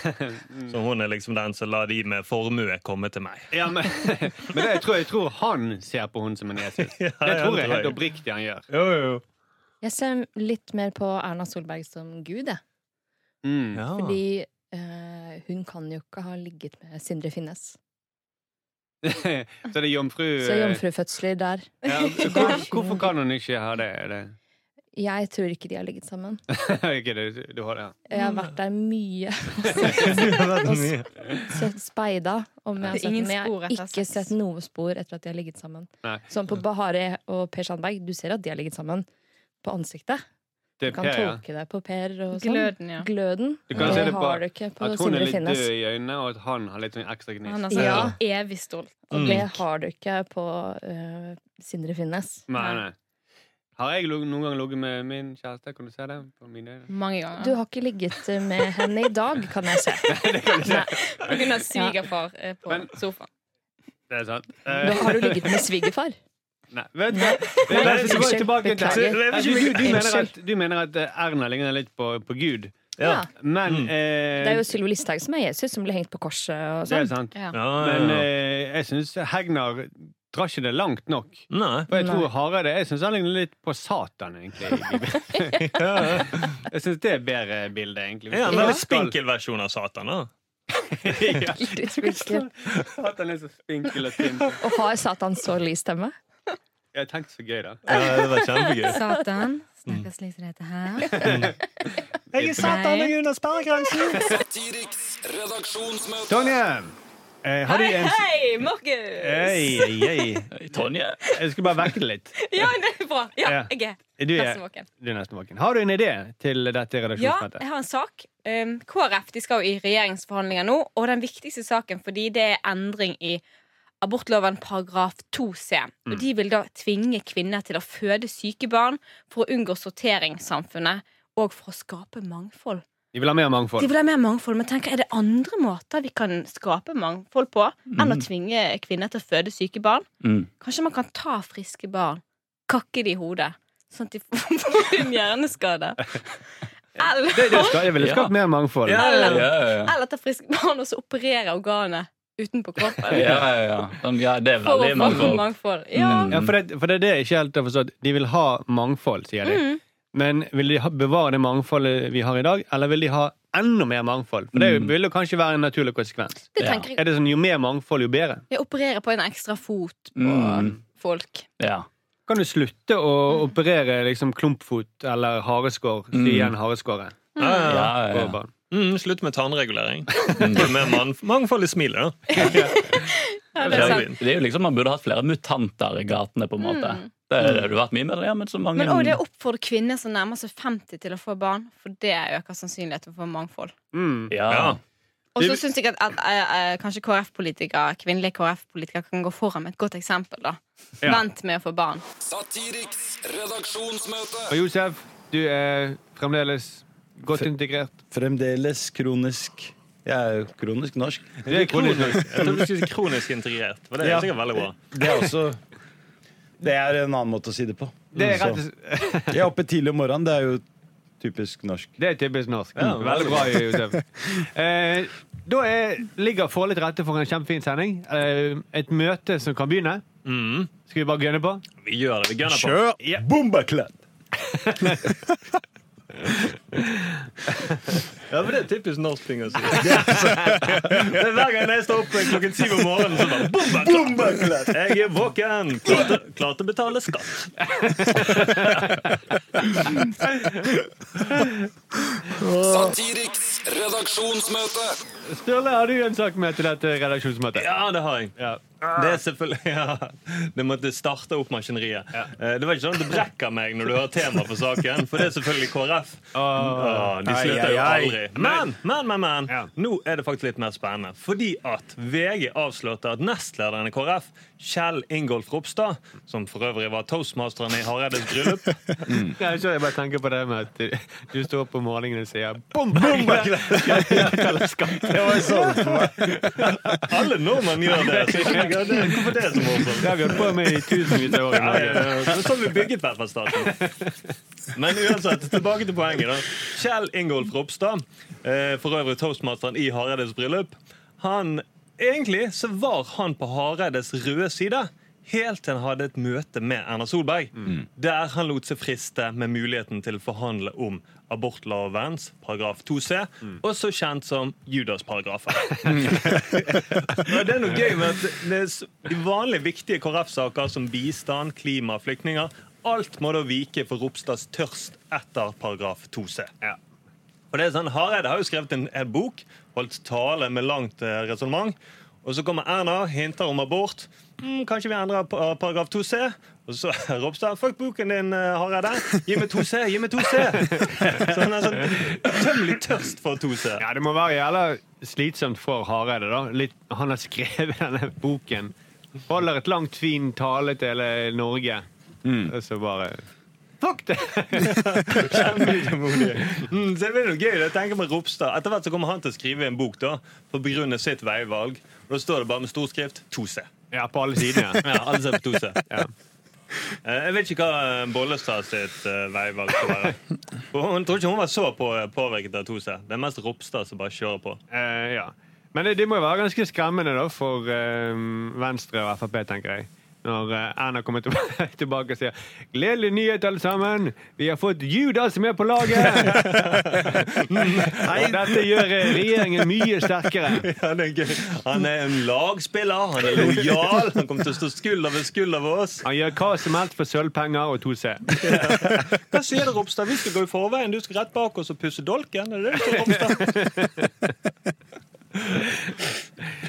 Så hun er liksom den som la de med formue komme til meg. Ja, men men det, jeg, tror, jeg tror han ser på hun som en Jesus. Ja, Det tror jeg helt jeg. oppriktig han gjør. Jo, jo. Jeg ser litt mer på Erna Solberg som gud, jeg. Mm. Ja. Fordi eh, hun kan jo ikke ha ligget med Sindre Finnes. Så det er jomfru, eh, Så jomfrufødsler der. Ja, hvor, Hvorfor kan hun ikke ha det? Er det? Jeg tror ikke de har ligget sammen. ikke det, du har det. Jeg har Mm. vært der mye sett speida. Om jeg har Det er sett, ingen men jeg spor har etter ikke sex. sett noe spor etter at de har ligget sammen. Nei. Som på Bahare og Per Sandberg. Du ser at de har ligget sammen på ansiktet. Du Det er kan Per, ja. tolke det på Per og sånn. Gløden, ja. Gløden. Du kan det, se det på har du ikke på At hun er Sindre litt død Finnes. i øynene, og at han har litt sånn ekstra Han gnist. er sånn Ja. evig stolt. Og Mm. det har du ikke på eh, Sindre Finnes. Nei, nei. Har jeg log- noen gang ligget med min kjæreste? Kan du se det? på mine øyne? Mange ganger. Du har ikke ligget eh, med henne i dag, kan jeg se. På grunn av svigerfar eh, på Men- sofaen. Det er sant. Nå Eh, har du ligget med svigerfar. nei, vet du hva? Det er- Nei, det er tilbake- unnskyld, tilbake til- beklager. Nei, Du, du, du, mener Unnskyld. at, du mener at eh, Erna ligner litt på, på Gud, Ja. men Mm. eh, Det er jo Sylvi Listhaug som er Jesus, som ble hengt på korset og det er sånn. sant. Ja. Ja, Men ja. eh, jeg syns Hegnar drar ikke det langt nok. Nei. For jeg tror Nei. Hareide Jeg syns han ligner litt på Satan, egentlig. i Bibelen. jeg syns det er bedre bilde, egentlig. Ja, Hvis men du en skal- spinkel versjon av Satan, da. Ja. Spinkel. At han er så spinkel og tynn. Og har Satan så lys stemme? Jeg tenkte så gøy, da. Mm. Ja, det var kjempegøy. Satan. Snakker slik som dette her. Jeg er Satan, jeg er under sperregrensen! Satiriks redaksjonsmøte. Tonje! eh, har du Hei, en hei, Markus! Hei, hei. Tonje? Jeg skulle bare vekke det litt. Ja, det er bra. Ja, Ja. jeg er Du er, nesten våken. du er nesten våken. Har du en idé til dette Ja, redaksjonsmøtet? jeg har en sak. Um, KrF de skal jo i regjeringsforhandlinger nå, og den viktigste saken fordi det er endring i abortloven paragraf 2c. Og de vil da tvinge kvinner til å føde syke barn for å unngå sorteringssamfunnet og for å skape mangfold. De vil ha mer De mangfold. vil ha mer mangfold, men tenker, er det andre måter vi kan skape mangfold på enn å tvinge kvinner til å føde syke barn? Mm. Kanskje man kan ta friske barn, kakke de i hodet, sånn at de får en hjerneskade? Eller, Det, det skal, jeg ville skapt mer mangfold. Ja, ja, ja. ja. eller ta friske barn og så operere organet utenpå kroppen. Ja, ja, ja. Sånn, ja, det er For å veldig få mangfold. mangfold. Mm. Ja. Ja, for det, for det er det jeg ikke helt har forstått. De vil ha mangfold, sier de. Mm. Men vil de ha, bevare det mangfoldet vi har i dag, eller vil de ha enda mer mangfold? For det Mm. vil jo kanskje være en naturlig konsekvens. Det Ja. tenker jeg. Er det sånn, Jo mer mangfold, jo bedre. Jeg opererer på en ekstra fot på Mm. folk. Ja. Kan du slutte å operere liksom klumpfot eller hareskår? Mm. Si igjen hareskåret. Ja, ja, Ja, ja. ja, på ja. barn. Mm, slutt med tannregulering. Det er mer man- mangfold i smilet, da. Ja, det Det er er, sant. jo- det er jo liksom, Man burde hatt flere mutanter i gatene, på en måte. Mm. Det er, det du Eh, har vært mye med det, ja, men så mange Mm. Men òg det å oppfordre kvinner som nærmer seg 50 til å få barn, for det øker sannsynligheten for mangfold. Mm. Ja. Ja. Og så syns jeg at, at eh, eh, kanskje KrF-politikere kvinnelige KrF-politikere kan gå foran med et godt eksempel. da Vent med å få barn. Satiriks redaksjonsmøte. Og Josef, du er fremdeles godt Fe- integrert. Fremdeles kronisk Jeg er jo kronisk norsk. Det er kronisk. Jeg tror du skulle si kronisk integrert. For det er Ja. sikkert veldig bra. Det er også Det er en annen måte å si det på. Mm, Det er, rett, og slett- Jeg er oppe tidlig om morgenen. Det er jo typisk norsk. det er typisk norsk. Ja, Veldig bra, Josef. Eh, da er, ligger forholdet til rette for en kjempefin sending. Eh, et møte som kan begynne. Mm. Skal vi bare gønne på? Vi gjør det. Vi gønner på. Kjør bombaklatt! Ja, for det er typisk norsk ting å si. Det er Hver gang jeg står opp klokken syv om morgenen, så bare boom, bang, klapp. Bombaklatt! Jeg er våken! Klarte, klarte å betale skatt. Satiriks redaksjonsmøte. Sturle, har du en sak med til dette redaksjonsmøtet? Ja, det har jeg. Ja. Det er selvfølgelig ja. Det måtte starte opp maskineriet. Eh, Det var ikke sånn at det brekker meg når du har tema for saken, for det er selvfølgelig KrF. Åh, de Ai, slutter ai, jo ai. aldri. Men, men, men, men nå er det faktisk litt mer spennende. Fordi at VG avslørte at nestlederen i KrF, Kjell Ingolf Ropstad, som for øvrig var toastmasteren i Hareides bryllup Mm. Nei, så jeg bare tenker på det med at du- du står opp om morgenen og sier bom! sånn. Alle nordmenn gjør det. Så jeg skjønner ikke det. Hvorfor det er så morsomt? Det har vi holdt på med i tusenvis av år. i Ja, sånn Norge. ja, ja. Men så har vi bygget velferdsstaten. Men uansett, tilbake til poenget. da. Kjell Ingolf Ropstad, eh, for øvrig toastmasteren i Hareides bryllup, han Egentlig så var han på Hareides røde side. Helt til han hadde et møte med Erna Solberg, der han lot seg friste med muligheten til å forhandle om abortlovens paragraf 2c, også kjent som Judas-paragrafen. Ja, det er noe gøy med at det er s- de vanlige viktige KrF-saker som bistand, klima, flyktninger Alt må da vike for Ropstads tørst etter paragraf 2c. Og det er sånn, Hareide har jo skrevet en, en bok, holdt tale med langt eh, resonnement. Og så kommer Erna, hinter om abort. Mm, kanskje vi endrer pa- paragraf 2c? Og så Ropstad, fuck boken din, eh, Hareide. Gi meg 2c, gi meg 2c! Så han er sånn tømmelig tørst for 2c. Ja, det må være jævla slitsomt for Hareide, da. Litt, han har skrevet denne boken. Holder et langt, fin tale til hele Norge. Og så bare Fuck det! Mm, så det blir noe gøy det. tenker med Ropstad. Etter hvert så kommer han til å skrive en bok da, for å begrunne sitt veivalg. Og Da står det bare med stor skrift 2C. Ja, på alle sidene. Ja, alle ser på 2C. Eh, Jeg vet ikke hva eh, Bollestad sitt eh, veivalg skal være. Og Hun tror ikke hun var så på, eh, påvirket av 2C. Det er mest Ropstad som bare kjører på. Eh, ja. Men det, det må jo være ganske skremmende da, for eh, Venstre og Frp, tenker jeg. Når eh, Erna kommer tilbake, tilbake og sier 'Gledelig nyhet, alle sammen! Vi har fått Judas med på laget!' Og dette gjør eh, regjeringen mye sterkere. Ja, det er gøy. Han er en lagspiller, han er lojal, han kommer til å stå skulder ved skulder ved oss. Han gjør hva som helst for sølvpenger og 2C. Hva sier det, Ropstad? Vi skal gå i forveien, du skal rett bak oss og pusse dolken. Er det det du sier, Ropstad?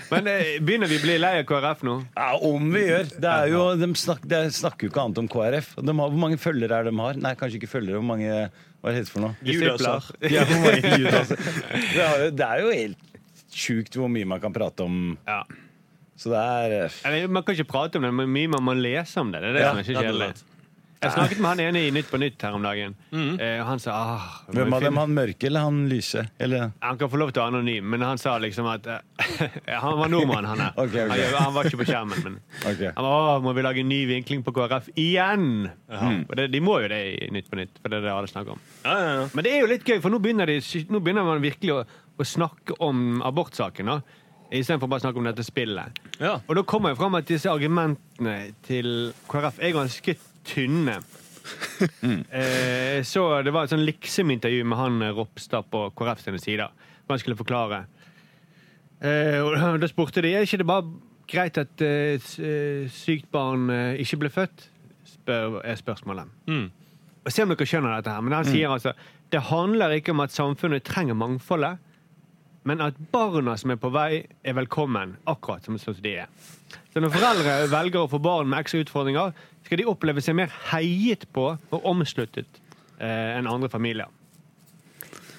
Men eh, begynner vi å bli lei av KrF nå? Ja, om vi gjør. Det er jo, de, snak, de snakker jo ikke annet om KrF. De har, hvor mange følgere er det de har? Nei, kanskje ikke følgere. Hvor mange Hva heter det for noe? Judaser. Ja, hvor mange judaser? Det, er jo, det er jo helt sjukt hvor mye man kan prate om. Ja. Så det er eh, Eller, man kan ikke prate om det, men mye man må lese om det. Det er det Ja, som er så rett og kjedelig. slett. Mm. Jeg snakket med han ene i Nytt på Nytt her om dagen. Eh, og han sa ah, jeg må Hvem jo av finne- dem? Han mørke eller han lyse? Eller Han kan få lov til å være anonym, men han sa liksom at eh, Han var nordmann, han her. Ok, ok. Han, gjør- han var ikke på skjermen, men Ok. han var, Åh, må vi lage en ny vinkling på KrF igjen? Mm. Og det, de må jo det i Nytt på Nytt, for det er det alle snakker om. Ja, ja, ja. Men det er jo litt gøy, for nå begynner, de, nå begynner man virkelig å, å snakke om abortsaken. da. Istedenfor bare å snakke om dette spillet. Ja. Og da kommer jeg fram at disse argumentene til KrF er ganske tynne. Mm. Eh, så det var et sånn liksom-intervju med han eh, Ropstad på KrF sine sider. Hvor han skulle forklare. Eh, og da- da spurte de er ikke det bare greit at eh, s- eh, sykt barn eh, ikke ble født, Spør, er spørsmålet. Og Se om dere skjønner dette her, men han sier altså det handler ikke om at samfunnet trenger mangfoldet, men at barna som er på vei, er velkommen akkurat som sånn som de er. Så når foreldre velger å få barn med ekstra utfordringer, skal de oppleve seg mer heiet på og omsluttet eh, enn andre familier.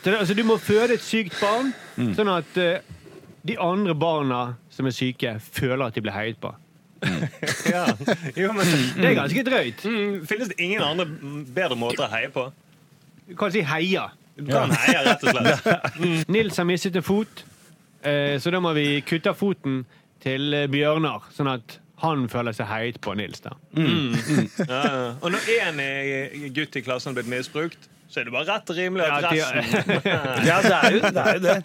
Så det, altså, du må føde et sykt barn, sånn at eh, de andre barna som er syke, føler at de blir heiet på. Ja. Jo, men Det er ganske drøyt. mm, Finnes det ingen andre mm, bedre måter å heie på? Du kan si heia. Du kan heie, rett og slett. Mm. Nils har mistet en fot, eh, så da må vi kutte av foten til eh, Bjørnar, sånn at han føler seg heiet på Nils. da. Mm. Ja, ja. Og når én eh, gutt i klassen har blitt misbrukt, så er det bare rett og rimelig at Ja, de- resten Ja, det er jo det. Er jo det.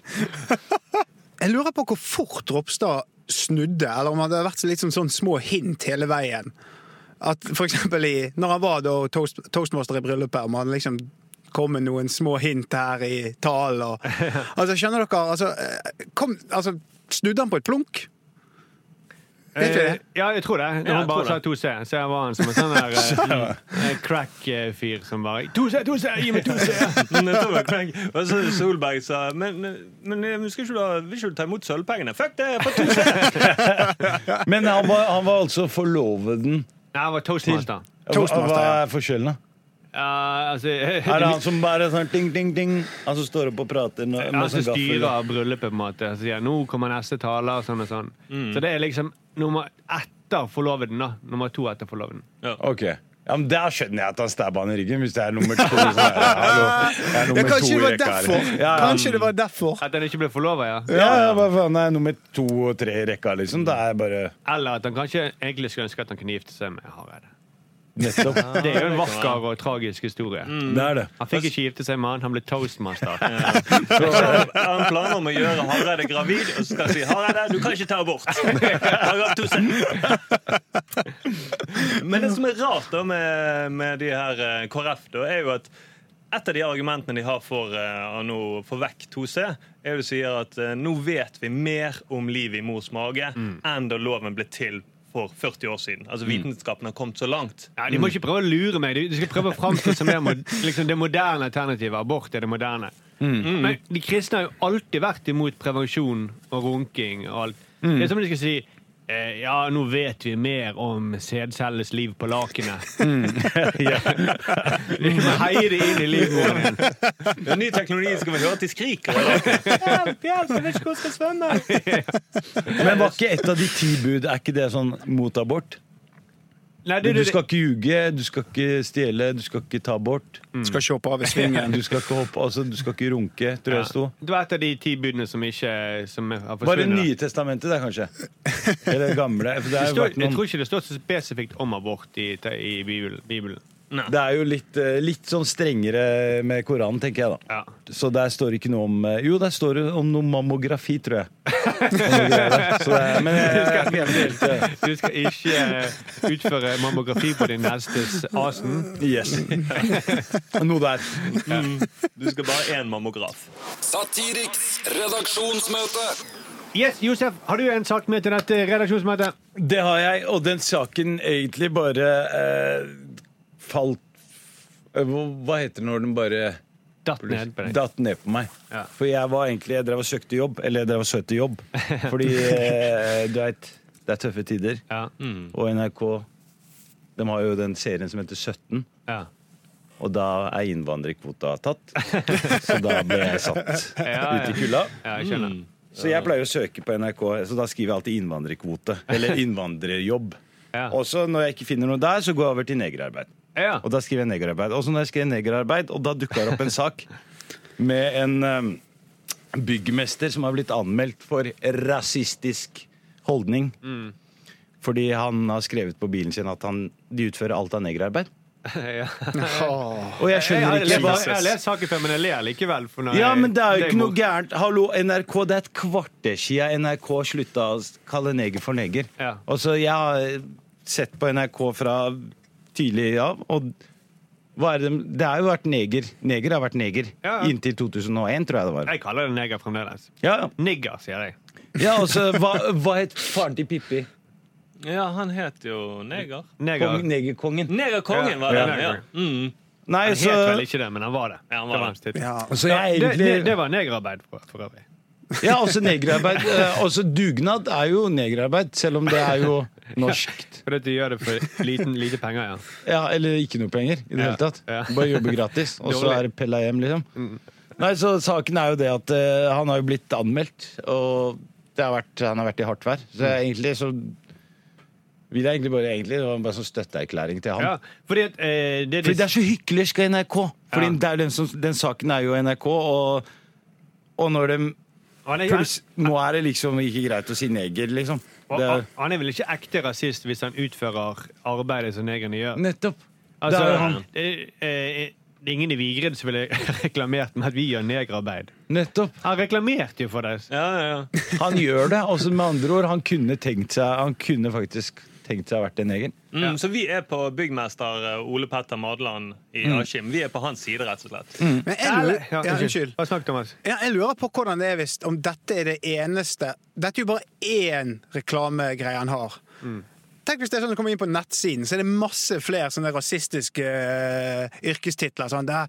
Jeg lurer på hvor fort Ropstad snudde, eller om det hadde vært litt sånn, sånn små hint hele veien. At for eksempel i, når han var da toast, toastmaster i bryllupet, om han liksom kom med noen små hint her i talen og Altså, skjønner dere? Altså, eh, kom, altså snudde han på et plunk? Ikke det? ja, jeg tror det. Når Ja, hun jeg bare tror sa 2C, så jeg var han som en sånn der eh, eh, crack-fyr som bare 2C, 2C, gi meg 2C! Nettopp, Craig. Og så Solberg sa men, men eh, skal ikke du ha, vil ikke du ta imot sølvpengene? Fuck det! jeg får to Men han var, han var altså forloveden Nei, han var toastmaster. Hva hva er forskjellen, da? Ja, altså, Er det han som bare sånn ding, ding, ding? Han som står opp og prater nå- med, Han som sånn gaffel? styrer bryllupet, på en måte. Så sier han, 'nå kommer neste taler', og sånn og sånn. Mm. Så det er liksom nummer etter forloveden, da. Nummer to etter forloveden. Ok. Ja, men Der skjønner jeg at han stabba han i ryggen, hvis det er nummer to. Så er det, hallo, jeg er nummer Ja, kanskje to i det var rekka her. derfor. Ja, ja. Kanskje det var derfor. At han ikke ble forlova, ja. Ja, ja, hva faen, det er nummer to og tre i rekka, liksom. Da er jeg bare Eller at han kanskje egentlig skulle ønske at han kunne gifte seg med Hareide. Nettopp. Mm. Det er jo en vakker og tragisk historie. Det er det. Han fikk ikke gifte seg med han, han ble toastmaster. Jeg har eh, han planer om å gjøre Hareide gravid, og så skal han si 'Hareide, du kan ikke ta abort'. Paragraf 1000. Men det som er rart da med, med de her eh, KrF, da, er jo at et av de argumentene de har for eh, å nå få vekk 2C, er jo de sier at eh, nå vet vi mer om livet i mors mage Mm. enn da loven ble til for 40 år siden. Altså Vitenskapen har kommet så langt. Mm. Ja, de må ikke prøve å lure meg. De de skal prøve å framstå som det, mod- liksom det moderne alternativet. Abort er det moderne. Mm. Men de kristne har jo alltid vært imot prevensjon og runking og alt. Mm. Det er som om de skal si eh, ja, nå vet vi mer om sædcelles liv på lakenet. Mm. De må heie det inn i livmoren din. Det er ny teknologi skal vi høre at de skriker. eller? Hjelp, hjelp, jeg vet ikke hvor jeg skal svømme! Men var ikke et av de ti bud Er ikke det sånn mot abort? Nei, Du, det, det, skal ikke ljuge, du skal ikke stjele, du skal ikke ta abort. Skal ikke hoppe av i svingen. Du skal ikke hoppe, altså du skal ikke runke, tror jeg det sto. det var et av de ti budene som ikke som har Var det forsvunnet. da. Nye testamentet der, kanskje? Eller det gamle? For det, Det er jo står, vært jeg noen, tror ikke det står så spesifikt om abort i, i Bibelen. Bibelen. det er jo litt, eh, litt sånn strengere med Koranen, tenker jeg da. Ja. Så der står ikke noe om eh, Jo, der står det om noe mammografi, tror jeg. Og noe greier der. Så det, er- men eh, jeg, jeg er ikke helt eh, Du skal ikke eh, utføre mammografi på din nestes asen. Yes. Noe der. Mm. Du skal bare ha én mammograf. Satiriks redaksjonsmøte. Yes, Josef, har du en sak med til dette redaksjonsmøtet? Det har jeg, og den saken egentlig bare eh, falt eh, hva- Hva heter det når den bare Datt ned på deg. datt ned på meg? Ja. For jeg var egentlig Jeg drev og søkte jobb, eller jeg drev og søkte jobb. Fordi eh, du veit, det er tøffe tider. Ja. Og NRK de har jo den serien som heter 17, Ja. og da er innvandrerkvota tatt. Så da ble jeg satt Ja, ja. ut i kulda. Mm. ja, jeg skjønner. Så jeg pleier å søke på NRK, så da skriver jeg alltid innvandrerkvote. Eller innvandrerjobb. Ja. Og så når jeg ikke finner noe der, så går jeg over til negerarbeid. Ja. Og da skriver jeg negerarbeid. Og så når jeg skrev negerarbeid, og da dukka det opp en sak med en eh, byggmester som har blitt anmeldt for rasistisk holdning. Fordi han har skrevet på bilen sin at han, de utfører alt av negerarbeid. Ja. Og jeg Jeg har skjønner jeg ikke har- jeg har lest saken før, men jeg ler likevel. For når Ja, jeg- men det er jo ikke noe imot. gærent. Hallo, NRK, det er et kvarter siden NRK slutta å kalle neger for neger. Ja. Og så jeg har sett på NRK fra tidlig av, og hva er det, de- det har jo vært neger. Neger har vært neger Ja, ja. inntil 2001, tror jeg det var. Jeg kaller det neger fremdeles. Ja, ja. Nigger, sier jeg. ja og så hva, hva het faren til Pippi? Ja, han het jo Neger. Kong, Neger. negerkongen. Negerkongen var Ja, det. Ja. neger. Mm. Nei, Han så, het vel ikke det, men han var det. Ja, han var det, var hans det. tittel. Ja. så jeg det, det, det egentlig var negerarbeid for, for øvrig. Ja, også negerarbeid. Eh, Også dugnad er jo negerarbeid, selv om det er jo norsk. Fordi at de gjør det for liten, lite penger, ja. Ja, eller ikke noe penger i det Ja, hele tatt. ja. Bare jobbe gratis, og så Dårlig. Mm. er det pella hjem, liksom. Nei, så saken er jo det at eh, han har jo blitt anmeldt, og det har vært, han har vært i hardt vær. Så Mm. jeg, egentlig så vil jeg egentlig bare egentlig, Det var bare sånn støtteerklæring til ham. ja fordi at eh, det, Fordi det er så hyklersk av NRK! Fordi Ja. det er jo den, som, den saken er jo NRK, og, og når de Han er- pluss, Nå er det liksom ikke greit å si neger, liksom. Og Det er, han- Han er vel ikke ekte rasist hvis han utfører arbeidet som negrene gjør? nettopp. Altså, det er jo han. det, eh, det er ingen i Vigrid som ville reklamert med at vi gjør negerarbeid. Nettopp. Han reklamerte jo for det. Ja, ja, ja. Han gjør det. Altså med andre ord, han kunne tenkt seg Han kunne faktisk tenkt seg å vært en neger. Mm, Så vi er på byggmester eh, Ole Petter Madland i Mm. Askim. Vi er på hans side, rett og slett. Men jeg lurer, ja, unnskyld. Hva snakk, Thomas? Ja, jeg lurer på hvordan det er hvis om dette er det eneste Dette er jo bare én reklamegreie han har. Mm. Tenk hvis det er sånn at du kommer inn på nettsiden, så er det masse flere sånne rasistiske eh, yrkestitler. Sånn der,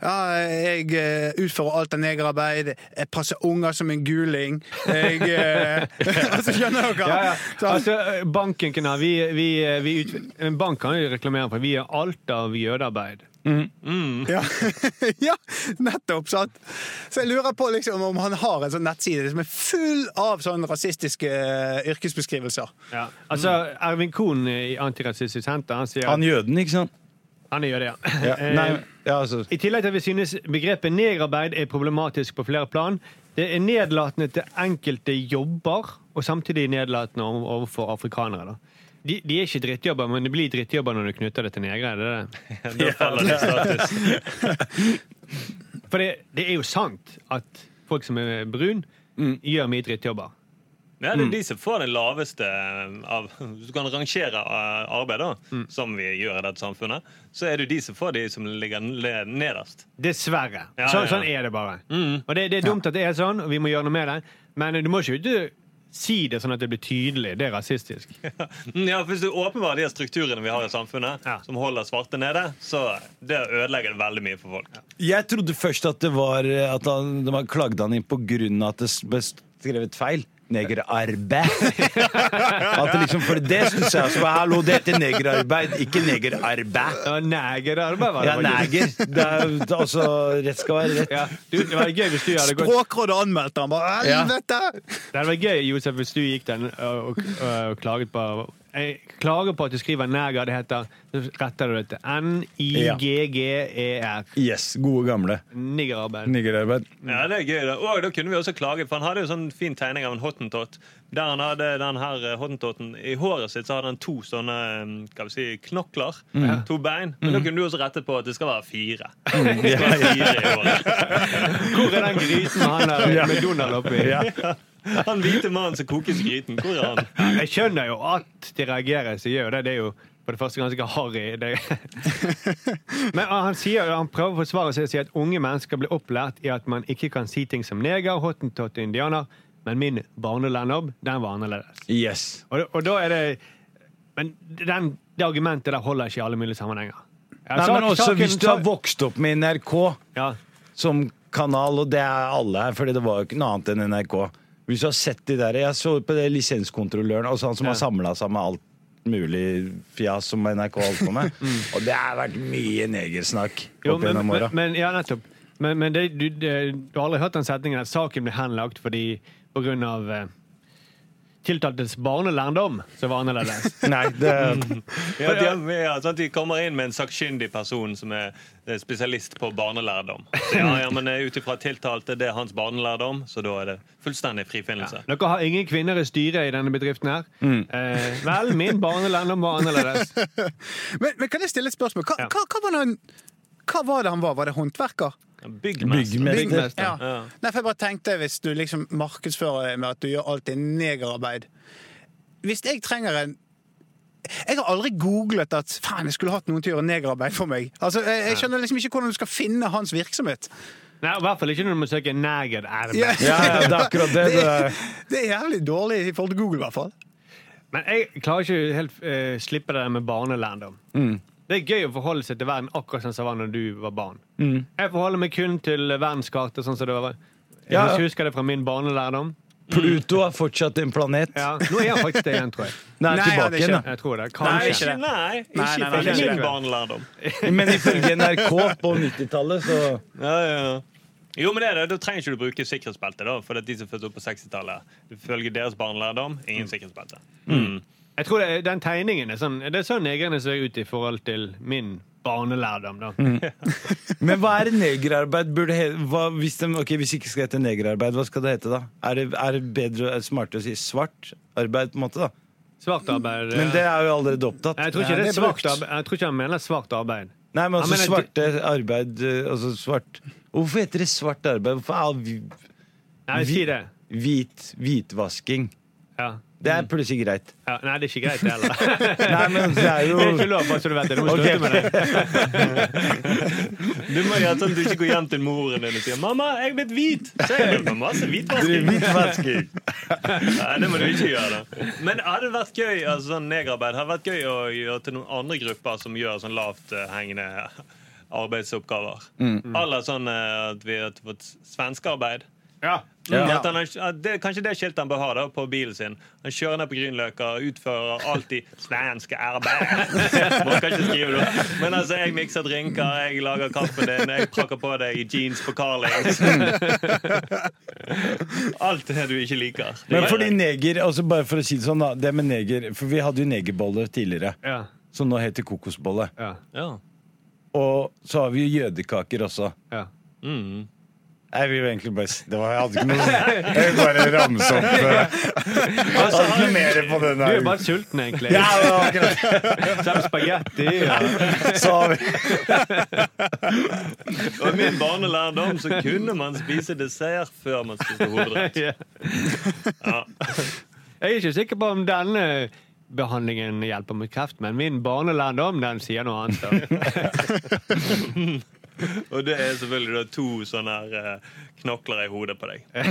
ja, jeg eh, utfører alt av negerarbeid, jeg passer unger som en guling, jeg eh, Altså, skjønner dere? Ja, ja. Altså, banken kunne ha- vi, vi, vi ut, en bank kan jo reklamere for vi er alt av jødearbeid. Mm. Ja. ja, nettopp. Sant? Så jeg lurer på liksom, om han har en sånn nettside som er full av sånne rasistiske eh, yrkesbeskrivelser. Altså, Ervin Kohn i Antirasistisk Senter han sier Han jøden, ikke sant? Han er jøde, ja. Ja, Eh, nei, ja, altså. I tillegg til at vi synes begrepet negerarbeid er problematisk på flere plan. Det er nedlatende til enkelte jobber, og samtidig nedlatende over- overfor afrikanere. da. De, de er ikke drittjobber, men det blir drittjobber når du knytter det til negere. er Det det? Da faller det status. For det, det er jo sant at folk som er brun, gjør mye drittjobber. Ja, det er Mm. de som får den laveste eh, av Hvis du kan rangere eh, arbeid, da, som vi gjør i dette samfunnet, så er det jo de som får de som ligger le- nederst. Dessverre. Ja, sånn, ja, ja. sånn er det bare. Og det, det er dumt at det er sånn, og vi må gjøre noe med det. Men du må ikke ut- si det sånn at det blir tydelig. Det er rasistisk. Mm, Ja, for Hvis du åpenbarer de strukturene vi har i samfunnet, som holder svarte nede, så det ødelegger det veldig mye for folk. Jeg trodde først at det var at han, de hadde klagd han inn på grunn av at det ble skrevet feil. Negerarbeid. At det liksom, for det syns jeg også. var, Hallo, det heter negerarbeid, ikke negerarbeid. Ja, negerarbeid var det Ja, neger. faktisk. Det er jo- det er altså Rett skal være rett. Ja, du, det var gøy hvis du hadde gått Språkrådet anmeldte han bare. Ja. Helvete! Det hadde vært gøy, Josef, hvis du gikk den og, og, og klaget på Jeg klager på at du skriver neger. Det heter Så retter du det til N-I-G-G-E-R. Yes, gode gamle. Niggerarbeid. Negerarbeid. Ja, det er gøy da. Og da kunne vi også klaget, for han hadde jo sånn fin tegning av en hottentott. Der han hadde den her eh, hottentotten I håret sitt så hadde han to sånne eh, skal vi si, knokler. Mm. To bein. Men da kunne du også rettet på at det skal være fire. Mm. Det skal være fire i håret. Hvor er den grisen han der med Donald oppi? Ja. Han hvite mannen som kokes i gryten. Hvor er han? Jeg skjønner jo at de reagerer, så gjør jo det. Det er jo for det første ganske harry. Det. Men han, sier, han prøver å forsvare seg og sier at unge mennesker blir opplært i at man ikke kan si ting som neger, hottentott og indianer, men min barnelandjobb, den var annerledes. Yes. Og, og da er det Men den, det argumentet der holder ikke i alle mulige sammenhenger. Ja, Nei, sak- men også saken- hvis du har sak- vokst opp med NRK som kanal, og det er alle her, fordi det var jo ikke noe annet enn NRK. Hvis du har sett de der, Jeg så på det lisenskontrolløren, altså han som har samla sammen alt mulig fjas som NRK holdt på med. Og det har vært mye negersnakk Mm. Jo, opp men, gjennom men, åra. men, ja, nettopp. Men, men det, du, det, du har aldri hørt den setningen at saken ble henlagt fordi på grunn av eh, tiltaltes barnelærdom, som var annerledes. Mm. Nei, det Ja, de, ja, sant? de kommer inn med en sakkyndig person som er eh, spesialist på barnelærdom. Så ja, ja, men eh, Ut ifra tiltalte, det er hans barnelærdom, så da er det fullstendig frifinnelse. Dere har ingen kvinner i styret i denne bedriften her. Eh, vel, min barnelærdom var annerledes. Men, men kan jeg stille et spørsmål? Hva, hva, hva, var, det han, hva var det han var? Var det håndverker? Byggmester. Byggmester. Ja. Nei, for jeg bare tenkte, hvis du liksom markedsfører deg med at du gjør alt i negerarbeid Hvis jeg trenger en jeg har aldri googlet at faen, jeg skulle hatt noen til å gjøre negerarbeid for meg. Altså, jeg, jeg skjønner liksom ikke hvordan du skal finne hans virksomhet. Nei, I hvert fall ikke når du må søke negerarbeid. Ja. Ja, ja, det er akkurat det, det er- er. det er jævlig dårlig i forhold til Google, i hvert fall. Men jeg klarer ikke helt eh, slippe det der med barnelærdom. Mm. Det er gøy å forholde seg til verden akkurat sånn som det var når du var barn. Jeg forholder meg kun til verdenskartet sånn som det var. Jeg Ja. husker det fra min barnelærdom. Pluto er fortsatt en planet. Ja, nå er han faktisk det igjen, tror jeg. Nei, Nei, tilbake det er igjen, ikke- jeg tror det. Nei, Kanskje. ikke, nei, ikke Nei, nei, nei, ifølge ikke min det. barnelærdom. da. Men ifølge NRK på 90-tallet, så Ja, ja, ja. Jo, men det er det. Da trenger ikke du bruke sikkerhetsbelte, da. For det er de som fødte opp på 60-tallet. Ifølge deres barnelærdom, Mm. ingen sikkerhetsbelte. Jeg tror det, er- den tegningen er sånn Det er sånn negrene ser ut i forhold til min barnelærdom, da. Men hva er negerarbeid? Burde he hva, hvis, de, ok, hvis det ikke skal hete negerarbeid, hva skal det hete da? Er det, er det bedre er det smartere å si svart arbeid, på en måte? da? Svart arbeid. eh, Men det er jo allerede opptatt. Jeg tror ikke, det er svart arbeid. jeg tror ikke han mener svart arbeid. Nei, men Han altså mener- svarte arbeid eh, Altså svart Hvorfor heter det svart arbeid? Hvorfor er vi Nei, si det. Hvit, hvitvasking. Ja. Det er plutselig greit. Ja, nei, det er ikke greit, det heller. Nei, men det er jo- Det er ikke lov, bare så du vet det. Du må Ok. slutte med det. Du må gjøre sånn at du ikke går hjem til moren din og sier 'mamma, jeg er blitt hvit'. Så jeg driver med masse Du er hvitvasking. hvitvasking. Nei, det må du ikke gjøre. da. Men hadde det vært gøy altså sånn negerarbeid hadde vært gøy å gjøre til noen andre grupper som gjør sånn lavthengende arbeidsoppgaver. Mm. Aller sånn eh, at vi har fått svenskearbeid. Mm. Ja. Ja. At han, har- at det, kanskje det skiltet han bør ha da, på bilen sin. Han kjører ned på Grünerløkka og utfører alltid 'svenske arbeid'. Man kan ikke skrive det. Men altså, jeg mikser drinker, jeg lager kaffen din, jeg prakker på deg jeans på Carlings. Alt det du ikke liker. Det Men gjør fordi jeg. neger, altså bare for å si det sånn, da. Det med neger, for vi hadde jo negerboller tidligere, Ja. som nå heter kokosbolle. Ja. Og så har vi jo jødekaker også. Ja. Mm. Jeg vil jo egentlig bare si det var, Jeg hadde ikke noe Jeg vil bare ramse opp eh, Jeg hadde ikke noe mer på den Altså, Du er der. bare sulten, egentlig. Ja, det var akkurat Selv spagetti. Ja. Så har vi Og i min barnelærdom så kunne man spise dessert før man spiste hovedrett. Ja. Ja. Jeg er ikke sikker på om denne behandlingen hjelper mot kreft, men min barnelærdom, den sier noe annet. da. Og det er selvfølgelig da to sånne her eh, knokler i hodet på deg. Jeg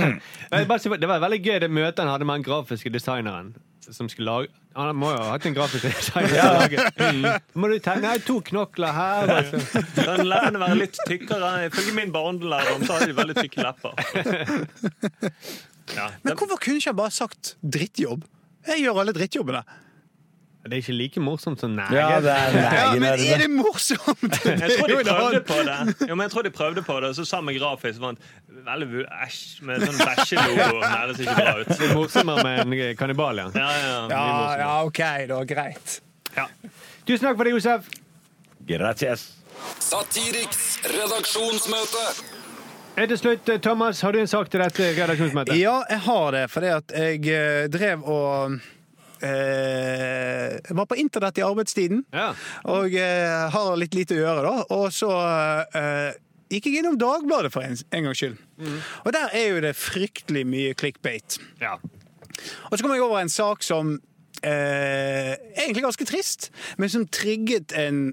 bare sier- Det var veldig gøy det møtet han hadde med den grafiske designeren. Som skulle lage Han må jo ha hatt en grafisk designer. Ja. Mm. Må du tegne Nei, to knokler her? altså. og så- Kan lærerne være litt tykkere? Ifølge min barnelærdom så har de veldig tykke lepper. Ja, Men hvorfor kunne ikke han bare sagt drittjobb? Jeg gjør alle drittjobbene. Det er ikke like morsomt som nei. Ja, det er Ja, neger men er det er det. det morsomt? Jeg tror de prøvde på det, ja, men jeg tror de prøvde på det så samme grafisk vant veldig vu- æsj med sånn bæsjelogo. Nei, det ser ikke bra ut. Det er Sånn morsommere med en kannibal, ja. Ja, ja, mye Ja, morsommere. ja, OK, da. Greit. Tusen takk for det, Josef. Gracias. Satiriks redaksjonsmøte. Eh, Til slutt, eh, Thomas, har du en sak til dette redaksjonsmøtet? Ja, jeg har det, fordi at jeg eh, drev og eh, var på internett i arbeidstiden, Ja. og eh, har litt lite å gjøre, da. Og så eh, gikk jeg innom Dagbladet for en, en gangs skyld. Og der er jo det fryktelig mye clickbait. Mm. Ja. Og så kom jeg over en sak som eh, er egentlig ganske trist, men som trigget en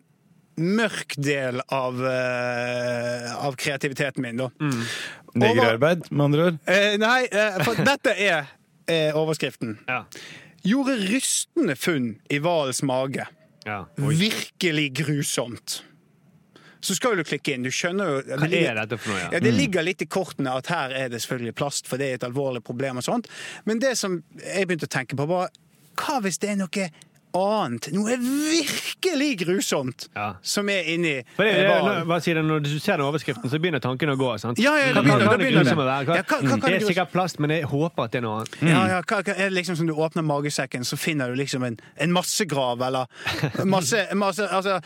mørk del av, eh, av kreativiteten min, da. Negerarbeid, med andre ord. Eh, nei, eh, for dette er eh, overskriften. Ja. Gjorde rystende funn i hvalens mage. Ja. Virkelig grusomt. Så skal du klikke inn. Du skjønner jo Hva er dette for noe? ja, Ja? det ligger litt i kortene at her er det selvfølgelig plast, for det er et alvorlig problem og sånt. Men det som jeg begynte å tenke på, var hva hvis det er noe annet, noe virkelig grusomt, Ja. som er inni For det, eh, det, hvalen? når, hva sier det, når du ser den overskriften, så begynner tankene å gå. sant? Ja, ja, da Hva kan- begynner- da hva kan det begynner det. grusomme være? Hva- Ja, hva- hva kan det det er grus- sikkert plast, men jeg håper at det er noe annet. Ja, ja, hva, hva, er det liksom som du åpner magesekken, så finner du liksom en, en massegrav, eller masse, masse Altså,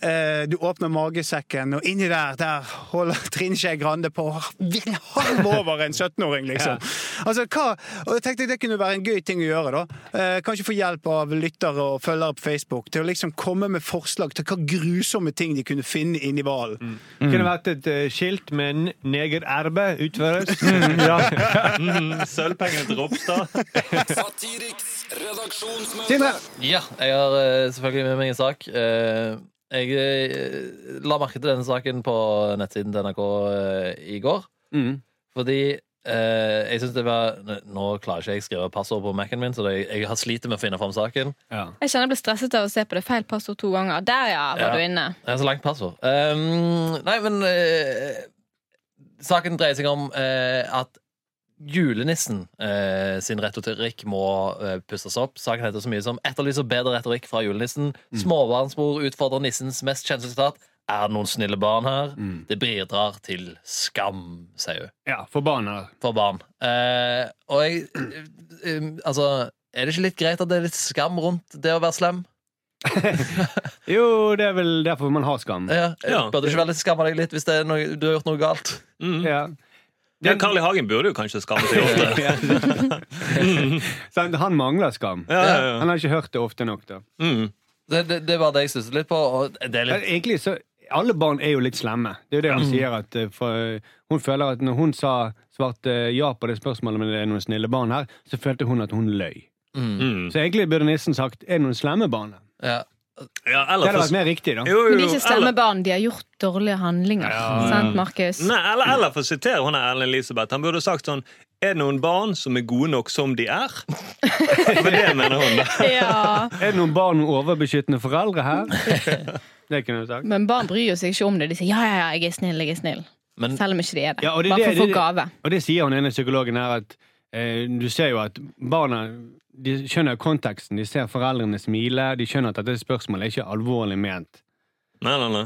eh, du åpner magesekken, og inni der, der holder Trine Skei Grande på å virkelig halve over en 17-åring, liksom. Altså, hva Og jeg tenkte det kunne være en gøy ting å gjøre, da. Eh, kanskje få hjelp av lyttere og følgere på Facebook til å liksom komme med forslag til hva grusomme ting de kunne finne inni hvalen. Det kunne vært et eh, skilt med n- 'Neger erbe utføres'. Mm, Sølvpengene til Ropstad. Satiriks redaksjonsmøte. Sindre! Ja, jeg har eh, selvfølgelig med meg en sak. Eh, Jeg eh, la merke til denne saken på nettsiden til NRK eh, i går. Fordi eh, jeg synes det var Nå klarer ikke jeg å skrive passord på Mac-en min, så det, jeg har slitt med å finne fram saken. Jeg kjenner jeg ble stresset av å se på det feil passord to ganger. Der, ja, var Ja. du inne. Det er så langt passord. Ehm, nei, men eh, Saken dreier seg om eh, at julenissen eh, sin retorikk må eh, pusses opp. Saken heter så mye som 'Etterlyser bedre retorikk fra julenissen'. Mm. 'Småbarnsmor utfordrer nissens mest kjente sitat'. 'Er det noen snille barn her?' 'Det bidrar til skam', sier hun. Mm. Ja, for barna. For barn. Eh, og jeg eh, Altså, er det ikke litt greit at det er litt skam rundt det å være slem? Jo, det er vel derfor man har skam. Ja, Ja. Bør du ikke være litt skamme deg litt hvis det er noe, du har gjort noe galt? Ja. Ja, Carl I. Hagen burde jo kanskje skamme seg ofte. Sant, Han mangler skam. Ja, ja, ja. Han har ikke hørt det ofte nok. da. Mm. Det, det, det var det jeg stusset litt på. Og det er Men litt, Mm. Egentlig så Alle barn er jo litt slemme. Det er jo det hun sier. At, eh, for, eh, hun eh, føler at når hun sa svarte ja på det spørsmålet om det er noen snille barn her, så følte hun at hun løy. Mm. Så egentlig burde nissen sagt 'er det noen slemme barn?' der?" Mm. Ja. Det hadde vært mer riktig, da. Men de som stemmer sånn barn, de har gjort dårlige handlinger. Sant, Markus? Nei, eller, eller for å sitere hun er Ellen Elisabeth, han burde sagt sånn Er det noen barn som er gode nok som de er? For det mener hun. Ja. Er det noen barn med overbeskyttende foreldre her? Det kunne du sagt. Men barn bryr jo seg ikke om det. De sier ja, ja, ja, jeg er snill, jeg er snill. Men- Selv om ikke de er det. Ja, og det er Bare for det- å få det- gave. Og det sier hun ene psykologen her, at eh, du ser jo at barna de skjønner konteksten. De ser foreldrene smile, de skjønner at dette spørsmålet er ikke alvorlig ment. Nei, nei, nei.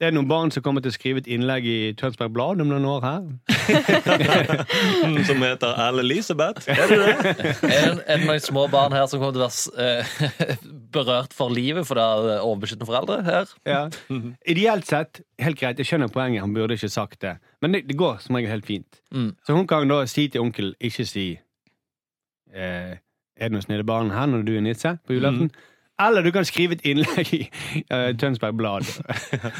Det er noen barn som kommer til å skrive et innlegg i Tønsberg Blad om noen år her. Mm, Som heter Ellen Elisabeth. Er det det? Er det- er det noen små barn her som kommer til å være eh, berørt for livet fordi de har overbeskyttende foreldre? her? Ja. Ideelt sett, helt greit, jeg skjønner poenget, han burde ikke sagt det. Men det, det går som regel helt fint. Mm. Så hun kan da si til onkel, ikke si eh, Er det noen snille barn her når du er nisse Mhm. på julaften? Eller du kan skrive et innlegg i eh, Tønsberg Blad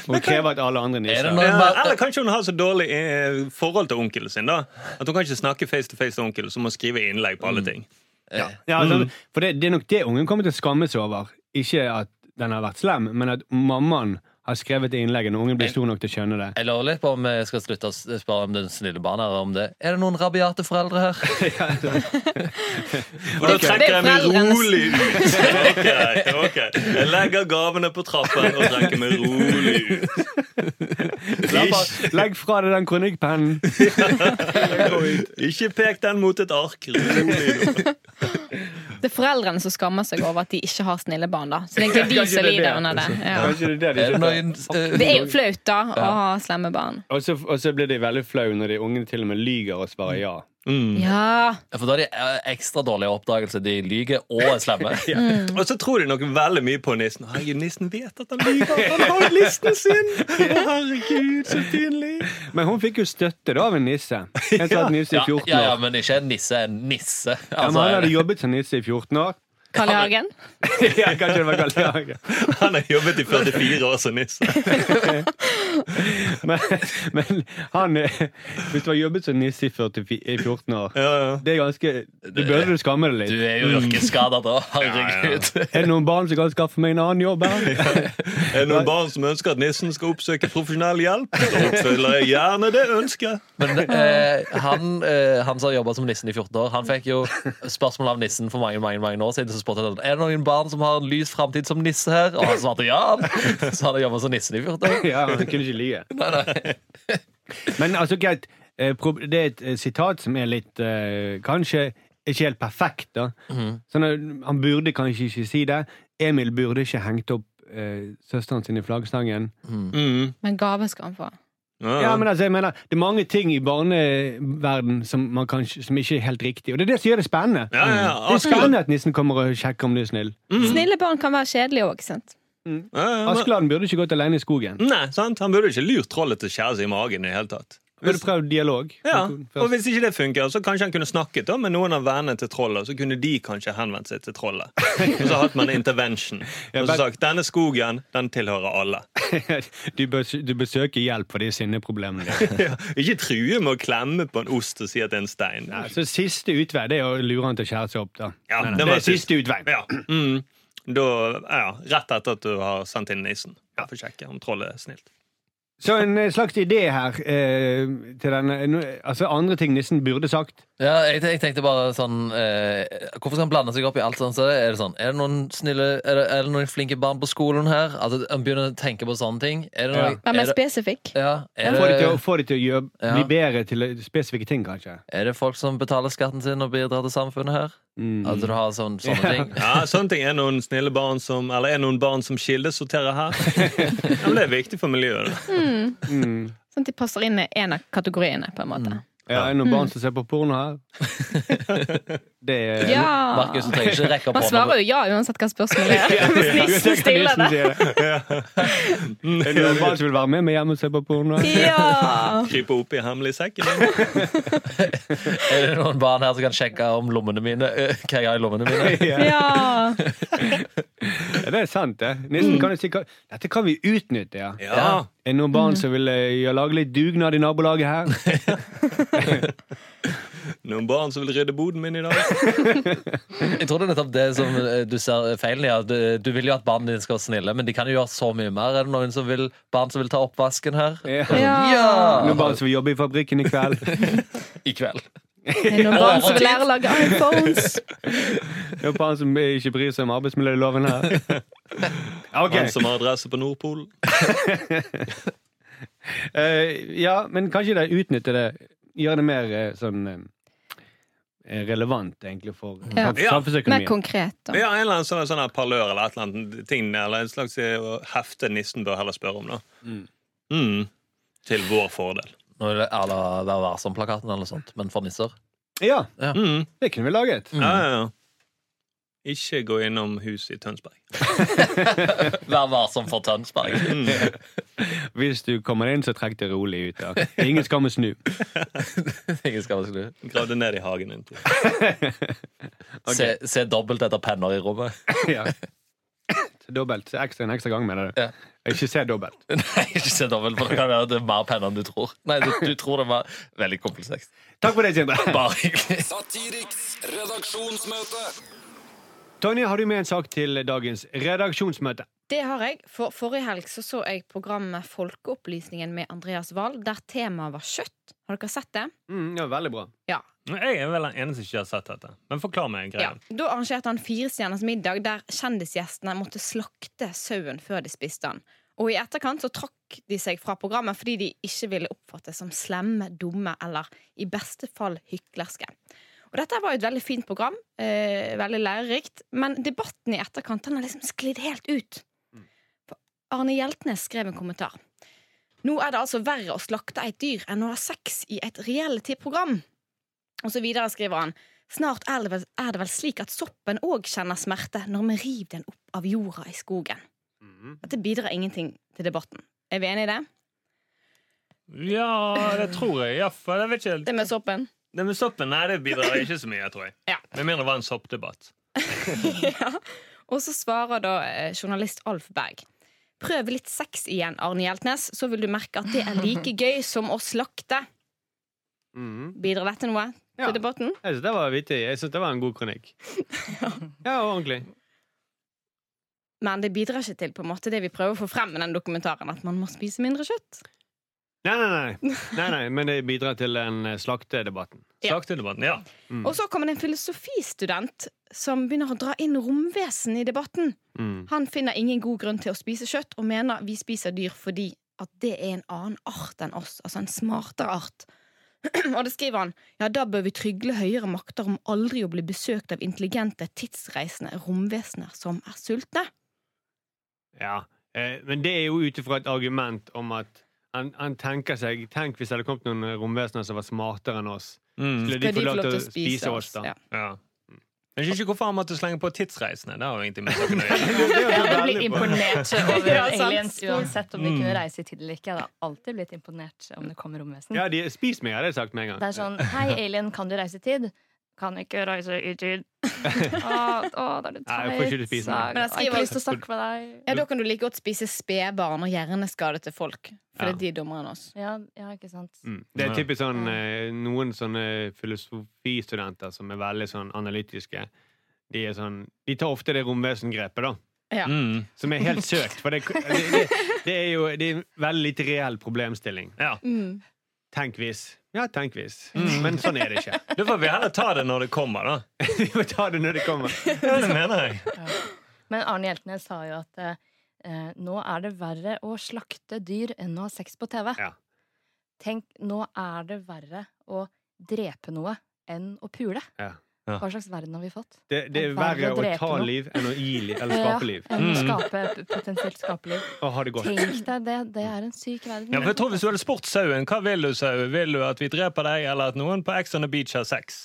og kreve at alle andre Er det nisser noen Ja, barn- eller kanskje hun har så dårlig eh, forhold til onkelen sin da at hun kan ikke snakke face to face til onkel, så hun må skrive innlegg på Mm. alle ting. ja, altså, For det, det er nok det ungen kommer til å skamme seg over. Ikke at den har vært slem, men at mammaen har skrevet det innlegget når ungen blir stor nok til å skjønne det. Jeg lurer litt på om jeg skal slutte å spørre om den snille barna her om det. Er det noen rabiate foreldre her? Og da Det trekker er jeg meg foreldrenes- rolig ut. Greit, ok. Jeg legger gavene på trappen og trekker meg rolig ut. Ikke, Legg fra deg den kronikkpennen! ikke pek den mot et ark. Rolig nå. Det er foreldrene som skammer seg over at de ikke har snille barn. da Så det er egentlig de som lider under det. Ja. Kanskje det er Er det det de noen eh, Det er jo flaut, da, å ha slemme barn. Og så, og så blir de veldig flau når de ungene til og med lyger og svarer ja. Mm. Ja, For da er de eh, ekstra dårlige oppdagelse. De lyver og er slemme. Og så tror de nok veldig mye på nissen. Herregud, nissen vet at han lyver. Han har jo listen sin! Herregud, så pinlig. Men hun fikk jo støtte da av en nisse. En som hadde nisse i Ja, ja, 14 år. altså, ja, men ikke en nisse. En nisse. Ja, men han Altså, hadde jobbet som nisse i 14 år. Karl I. Hagen. ja, kanskje det var Karl Jager. Han har jobbet i 44 år som nisse. Men, men han eh, Hvis du har jobbet som nisse i 44 i 14 år Ja, ja. Det er ganske Du burde du skamme deg du litt. er jo yrkesskada da. Herregud. Er det noen barn som kan skaffe meg en annen jobb? her? Er det noen barn som ønsker at nissen skal oppsøke profesjonell hjelp? Da oppfyller jeg gjerne det ønsket. Men eh, han, eh, han som har jobba som nissen i 14 år, han fikk jo spørsmål av nissen for mange mange, mange år siden. Så spurte han er det noen barn som har en lys framtid som nisse her. Og han svarte ja. Så han har jobba som nissen i 14 år. Ja, han kunne ikke lyge. Men altså, greit. eh, prob- Det er et eh, sitat som er litt eh, Kanskje ikke helt perfekt, da. Sånn at han burde kanskje ikke si det. Emil burde ikke hengt opp eh, søsteren sin i flaggstangen. Mm. Men gave skal han få. Mm. Ja, men altså, jeg mener, Det er mange ting i barneverden som, man kan, som ikke er helt riktig. Og det er det som gjør det spennende. Ja, Mm. ja, ja. Det er spennende at nissen kommer og sjekker om du er snill. Snille barn kan være kjedelige òg, sant? Ja, ja, men- Askeladden burde ikke gått alene i skogen. Nei, sant? Han burde ikke lurt trollet til å skjære seg i magen. i det hele tatt. Burde prøvd dialog. Ja, Først. og Hvis ikke det funker, så kanskje han kunne snakket da, med noen av vennene til trollet. Så kunne de kanskje henvendt seg til trollet. Og så hatt man intervention. Og så sagt denne skogen den tilhører alle. du, bes du besøker hjelp for de sinneproblemene dine. Ja, ikke true med å klemme på en ost og si at det er en stein. Ja, så siste utvei det er å lure han til å skjære seg opp, da. Nei, Ja, nei, det det, var er siste utvei. Ja. Mm. Da, ja, Rett etter at du har sendt inn nissen. Ja. For å sjekke om trollet er snilt. Så en eh, slags idé her eh, til denne nå- Altså andre ting nissen burde sagt. Ja, jeg, te- jeg tenkte bare sånn eh, Hvorfor skal han blande seg opp i alt sånn? Så er det sånn, er det noen snille Er det, er det noen flinke barn på skolen her? Altså, Han begynner å tenke på sånne ting. Er det noen, Vær mer er det, spesifikk. ja, er Få de til å, det, få de til å gjøre, Ja. bli bedre til spesifikke ting, kanskje. er det folk som betaler skatten sin og bidrar til samfunnet her? Mm. Altså du har sånn, sånne ting. Ja, sånne ting er noen snille barn som Eller er noen barn som kildesorterer her. Ja, men det er viktig for miljøet. da. Mm. Sånn at de passer inn i en av kategoriene, på en måte. Ja, er det noen barn som ser på porno her? Det er Ja. Markus, du trenger ikke rekke opp Man svarer jo ja uansett hva spørsmålet er. Hvis nissen stiller det. sier det. Er det noen barn som vil være med meg hjem og se på porno? Ja! Kryper opp i hemmelig sekk. eller? Er det noen barn her som kan sjekke om lommene mine eh, hva jeg har i lommene mine? ja. Ja, det er sant, det. Mm. Nissen kan jo si hva- Dette kan vi utnytte, ja. Ja. Er det noen barn som vil eh, gjøre- lage litt dugnad i nabolaget her? Noen barn som vil rydde boden min i dag? Jeg tror det er nettopp det som eh, du ser feilen i. at Du, eh, du vil jo at barna dine skal være snille, men de kan jo gjøre så mye mer. Er det noen som vil, barn som vil ta oppvasken her? Ja! Noen barn som vil jobbe i fabrikken i kveld. I kveld. Det er noen barn som vil lære å lage iPhones. Noen barn som ikke bryr seg om arbeidsmiljøloven her. Ok. Han som har adresse på Nordpolen? Eh, ja, men kanskje det utnytte det. Gjøre det mer eh, sånn eh, relevant, egentlig, for Ja. sam- Ja. Mer samfunnsøkonomien. konkret, da. Ja, en eller annen sånn, sånn her parlør eller et eller annet ting, eller en slags eh, hefte nissen bør heller spørre om, da. Mm. Mm. Til vår fordel. Nå er det à la Vær varsom-plakaten eller noe sånt, men for nisser. Ja, Mm. det kunne vi laget. Ja, ja, ja. Ikke gå innom huset i Tønsberg. Vær varsom for Tønsberg. Mm. Hvis du kommer inn, så trekk det rolig ut. da. Ingen skal må snu. Ingen skal være slu. Gravde ned i hagen din. se, se dobbelt etter penner i rommet. ja. Dobbelt. Så Ekstra en ekstra gang, mener du. Ja. Ikke se dobbelt. Nei, ikke se dobbelt, for det kan være det er mer penner enn du tror. Nei, du, du tror det var veldig komplekst. Takk for det, Sindre. Bare hyggelig. Satiriks redaksjonsmøte. Tonje, har du med en sak til dagens redaksjonsmøte? Det har jeg. For Forrige helg så, så jeg programmet Folkeopplysningen med Andreas Wahl, der temaet var kjøtt. Har dere sett det? Mm, ja, veldig bra. Jeg er vel den eneste som ikke har sett dette. Men forklar meg Ja. greia. Da arrangerte han Firestjerners middag, der kjendisgjestene måtte slakte sauen før de spiste den. Og i etterkant så trakk de seg fra programmet fordi de ikke ville oppfattes som slemme, dumme eller i beste fall hyklerske. Og dette var jo et veldig fint program, eh, veldig lærerikt, men debatten i etterkant den har liksom sklidd helt ut. For Arne Hjeltnes skrev en kommentar. Nå er det altså verre å slakte et dyr enn å ha sex i et reality-program. Og så videre skriver han Snart er det vel, er det vel slik at soppen òg kjenner smerte når vi river den opp av jorda i skogen. Mm. Dette bidrar ingenting til debatten. Er vi enige i det? Ja, det tror jeg. Ja, for jeg vet ikke. Det med soppen? Det med soppen nei, det bidrar ikke så mye, tror jeg. Ja. Med mindre det var en soppdebatt. ja. Og så svarer da eh, journalist Alf Berg. Prøv litt sex igjen, Arne Hjeltnes, så vil du merke at det er like gøy som å slakte. Mhm. Bidrar dette noe Ja. til debatten? Jeg syns det var vittig. Jeg synes det var en god kronikk. Ja, ordentlig. Men det bidrar ikke til på en måte det vi prøver å få frem med den dokumentaren, at man må spise mindre kjøtt. Nei, nei, nei. nei, nei men det bidrar til den eh, slaktedebatten. Ja. Slaktedebatten, ja. Mm. Og så kommer det en filosofistudent som begynner å dra inn romvesen i debatten. Mm. Han finner ingen god grunn til å spise kjøtt, og mener vi spiser dyr fordi at det er en annen art enn oss, altså en smartere art. og det skriver han ja, da bør vi trygle høyere makter om aldri å bli besøkt av intelligente, tidsreisende romvesener som er sultne. Ja. Eh, men det er jo ut ifra et argument om at han, han tenker seg Tenk hvis det hadde kommet noen romvesener som var smartere enn oss. Mm. Skulle de få lov til å spise oss, da? Ja. ja. Mm. Jeg skjønner ikke hvorfor han måtte slenge på tidsreisende. Det har jo ingenting med saken å gjøre. Det Jeg er hadde veldig blitt bra. imponert over Ja, sant. aliens uansett om de Mm. kunne reise i tid eller ikke. Jeg hadde alltid blitt imponert om det kommer romvesen. Ja, de, spis meg, hadde jeg sagt med en gang. Det er sånn Hei, alien, kan du reise i tid? Kan ikke reise i tid. Å, å, da er det Nei, jeg får ikke du teit. spise Sag. meg. Jeg Men jeg har skriver- ikke lyst til å snakke med deg. ja, Da kan du like godt spise spedbarn og hjerneskadete folk, for det Ja. er de dummere enn oss. Ja, ja ikke sant. Mm. Det er typisk sånn, eh, noen sånne filosofistudenter som er veldig sånn analytiske. De, er sånn, de tar ofte det romvesengrepet, da. Ja. Mm. Som er helt søkt. For det, det, det, det er jo det er en veldig lite reell problemstilling. Ja. Mm. Mm. Tenk hvis. Ja, tenk hvis. Men sånn er det ikke. Da får vi heller ta det når det kommer, da. Vi må ta det når det kommer. Ja, det mener jeg. Men Arne Hjeltnes sa jo at eh, nå er det verre å slakte dyr enn å ha sex på TV. Ja. Tenk, nå er det verre å drepe noe enn å pule. Ja. Ja. Hva slags verden har vi fått? Det, det er verre å ta liv enn å gi liv, eller skape liv. Ja, enn å Mm. skape, potensielt skape liv. Og ha det godt. Tenk deg det. Det er en syk verden. Ja, for jeg tror Hvis du hadde spurt sauen hva vil du sau? Vil du at vi dreper deg, eller at noen på Ex on the Beach har sex?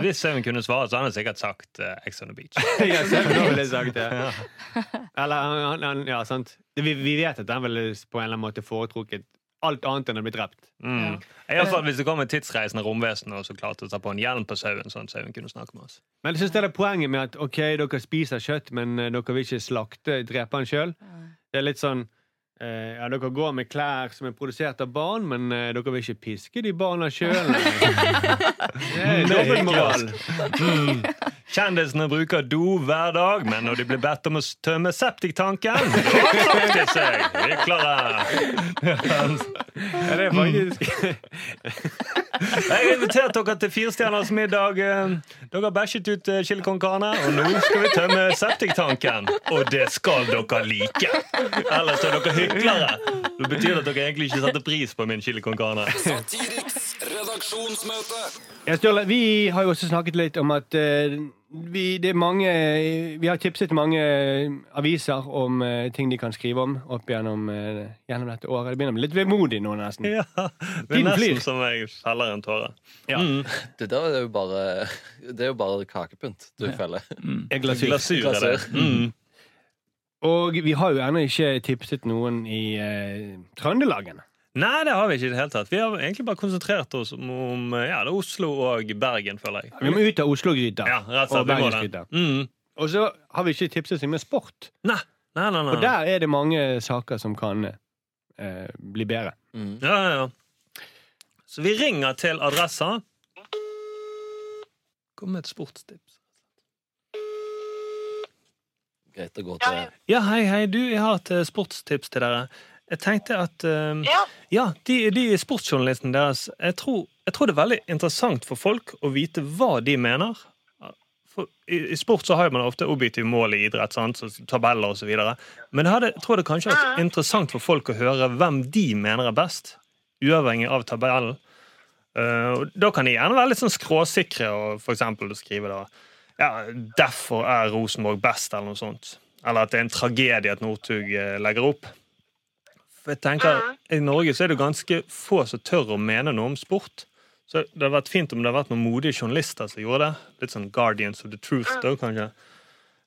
Hvis sauen kunne svare, så hadde han sikkert sagt eh, Ex on the Beach. Ja, selv om han ville sagt det. Eller han, han Ja, sant. Vi, vi vet at han ville på en eller annen måte foretrukket alt annet enn å bli drept. Mm. I alle fall Hvis det kom et tidsreisende romvesen og så klarte å ta på en hjelm på sauen, sånn at sauen kunne snakke med oss. Men jeg synes det er poenget med at ok, dere spiser kjøtt, men eh, dere vil ikke slakte, drepe han sjøl. Det er litt sånn eh, ja, dere går med klær som er produsert av barn, men eh, dere vil ikke piske de barna sjøl. Dobbeltmoral. Mm. Kjendisene bruker do hver dag, men når de blir bedt om å s- tømme septiktanken da slakter de seg. Vi er klare. Ja, det er faktisk Hmm. Jeg har invitert dere til Firestjerners middag. Eh, Dere har bæsjet ut eh, chili con carne, og nå skal vi tømme septiktanken. Og det skal dere like! Ellers er dere hyklere. Det betyr at dere egentlig ikke setter pris på min chili con carne. Satiriks redaksjonsmøte. Ja, Sturle, vi har jo også snakket litt om at eh, vi, det er mange, vi har tipset mange eh, aviser om eh, ting de kan skrive om opp gjennom, eh, gjennom dette året. Det begynner å bli litt vemodig nå, nesten. Ja, Det er Tiden nesten flyr. som jeg feller en tåre. Mm. Det der er jo bare Det er jo bare kakepynt du feller. Mm. En glasur. Glasur er det. Mm. Og vi har jo ennå ikke tipset noen i eh, Trøndelag ennå. Nei, det har vi ikke i det hele tatt. Vi har egentlig bare konsentrert oss om, om ja, det er Oslo og Bergen, føler jeg. Vi må ut av Oslo-gryta Ja, rett og og slett, vi må Bergensgryta. det. Mm. Og så har vi ikke tipset så mye sport. Nei, nei, nei, nei. Og der er det mange saker som kan eh, bli bedre. Ja, ja, ja. Så vi ringer til adressa. Kom med et sportstips. Greit å gå til Ja, hei, hei. Du, jeg har et eh, sportstips til dere. Jeg tenkte at eh, Ja, de, de sportsjournalistene deres jeg tror, jeg tror det er veldig interessant for folk å vite hva de mener. For, i, I sport så har man ofte objektive mål i idrett, sant? Så tabeller osv. Men jeg hadde, jeg tror det kanskje hadde vært interessant for folk å høre hvem de mener er best, uavhengig av tabellen. Eh, og da kan de gjerne være litt sånn skråsikre og for eksempel skrive da ja, 'Derfor er Rosenborg best', eller noe sånt. Eller at det er en tragedie at Northug eh, legger opp. For jeg tenker, I Norge så er det ganske få som tør å mene noe om sport. Så det hadde vært fint om det hadde vært noen modige journalister som gjorde det. Litt sånn Guardians of the Truth, da, kanskje.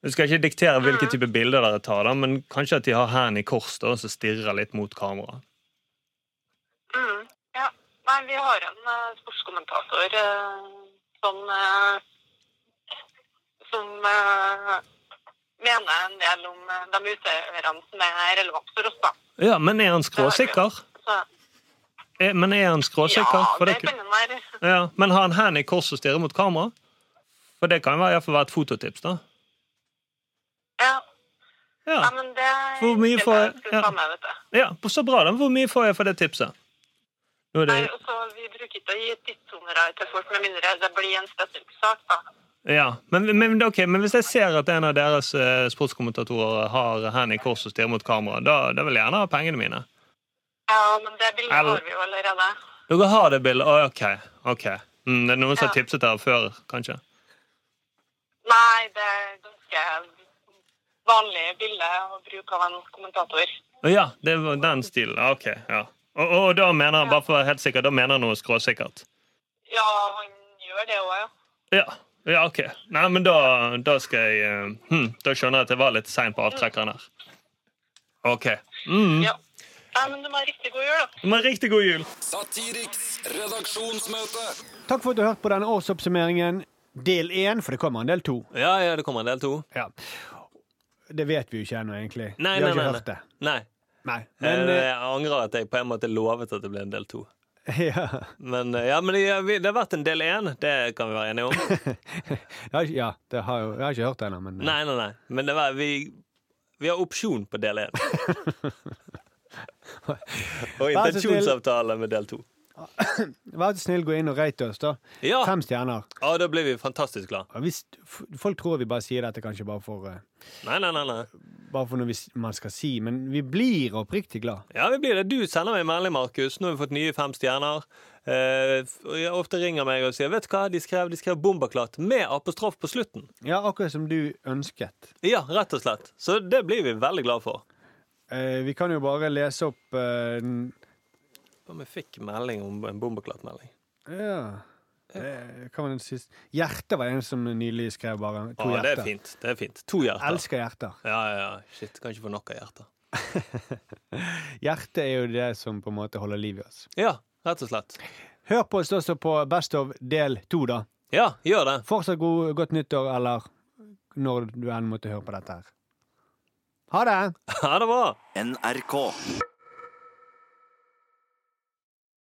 Jeg skal ikke diktere hvilke type bilder dere tar, da, men kanskje at de har hendene i kors da, og så stirrer litt mot kameraet. Mm, ja. Nei, vi har en eh, sportskommentator eh, som eh, som eh, mener en del om eh, de utøverne som er relevant for oss, da. Ja, men er han skråsikker? Så, Er, men er han skråsikker? ja, For det det kan kun- den være. ja, men har han hendene i kors og stirrer mot kamera? For det kan jo være, i hvert fall være et fototips, da. Ja. ja. Nei, men det Hvor mye det får er jeg- det jeg ja. skal ta med, vet du. Ja, Så bra, da. Hvor mye får jeg for det tipset? Nå er Nei, det, og så Vi bruker ikke å gi tidshonorar til folk med mindre det blir en spesifikk sak. da. ja. men, men, ok, men hvis jeg ser at en av deres eh, sportskommentatorer har hendene i kors og stirrer mot kamera, da, da vil jeg gjerne ha pengene mine. Ja, men det bildet Eller- har vi jo allerede. Dere har det bildet? Å, OK. ok. Mm, det er noen som har tipset dere før, kanskje? Nei, det er ganske vanlig bilde å bruke av en kommentator. Å Ja, det var den stilen. Ah, OK. ja. Og, og, og da mener han, bare for å være helt sikker, da mener han noe skråsikkert? Ja, han gjør det òg, ja. Ja. ja, OK. Nei, men da, da skal jeg eh, hm, Da skjønner jeg at jeg var litt sein på avtrekkeren her. OK. Mm. ja. Nei, men du må ha riktig god jul, da. Men riktig god jul. Satiriks redaksjonsmøte. Takk for at du har hørt på denne årsoppsummeringen. Del én, for det kommer en del to. Ja, ja, det kommer en del to. Ja. Det vet vi jo ikke ennå, egentlig. Nei, vi nei, har ikke nei, hørt det. nei. Nei. Eh, Men, jeg angrer at jeg på en måte lovet at det ble en del to. ja. Men, eh, ja, men ja, vi- det har vært en del én, det kan vi være enige om. Jeg har ikke- ja, det har jo Jeg har ikke hørt det ennå, men eh, Nei, nei, nei. Men det var, vi, vi har opsjon på del én. Og Vær så snill. intensjonsavtale med del to. Vær så snill, gå inn og rate oss, da. Ja. Fem stjerner. Ja, da blir vi fantastisk glad. Og Hvis, f- folk tror vi bare sier dette kanskje bare for, eh, Nei, nei, nei, nei. bare for noe vi, s- man skal si, men vi blir oppriktig glad. Ja, vi blir det. Du sender meg en melding, Markus. Nå har vi fått nye fem stjerner. Eh, og jeg ofte ringer meg og sier 'Vet du hva, de skrev, de skrev 'Bombaklatt' med apostrof på slutten'. Ja, akkurat som du ønsket. Ja, rett og slett. Så det blir vi veldig glad for. Eh, vi kan jo bare lese opp eh, den- Om jeg fikk melding om en bombeklattmelding. Ja. Eh, hva var den siste? Hjerte var en som nylig skrev bare. To Å, det hjerter. er fint. det er fint. To hjerter. Elsker hjerter. Ja, ja, ja. Shit, kan ikke få nok av hjerter. Hjertet er jo det som på en måte holder liv i oss. Ja, rett og slett. Hør på oss også på Best of del to, da. Ja, gjør det. Fortsatt god, godt nyttår, eller når du enn måtte høre på dette her. Ha det! Ha det bra! NRK.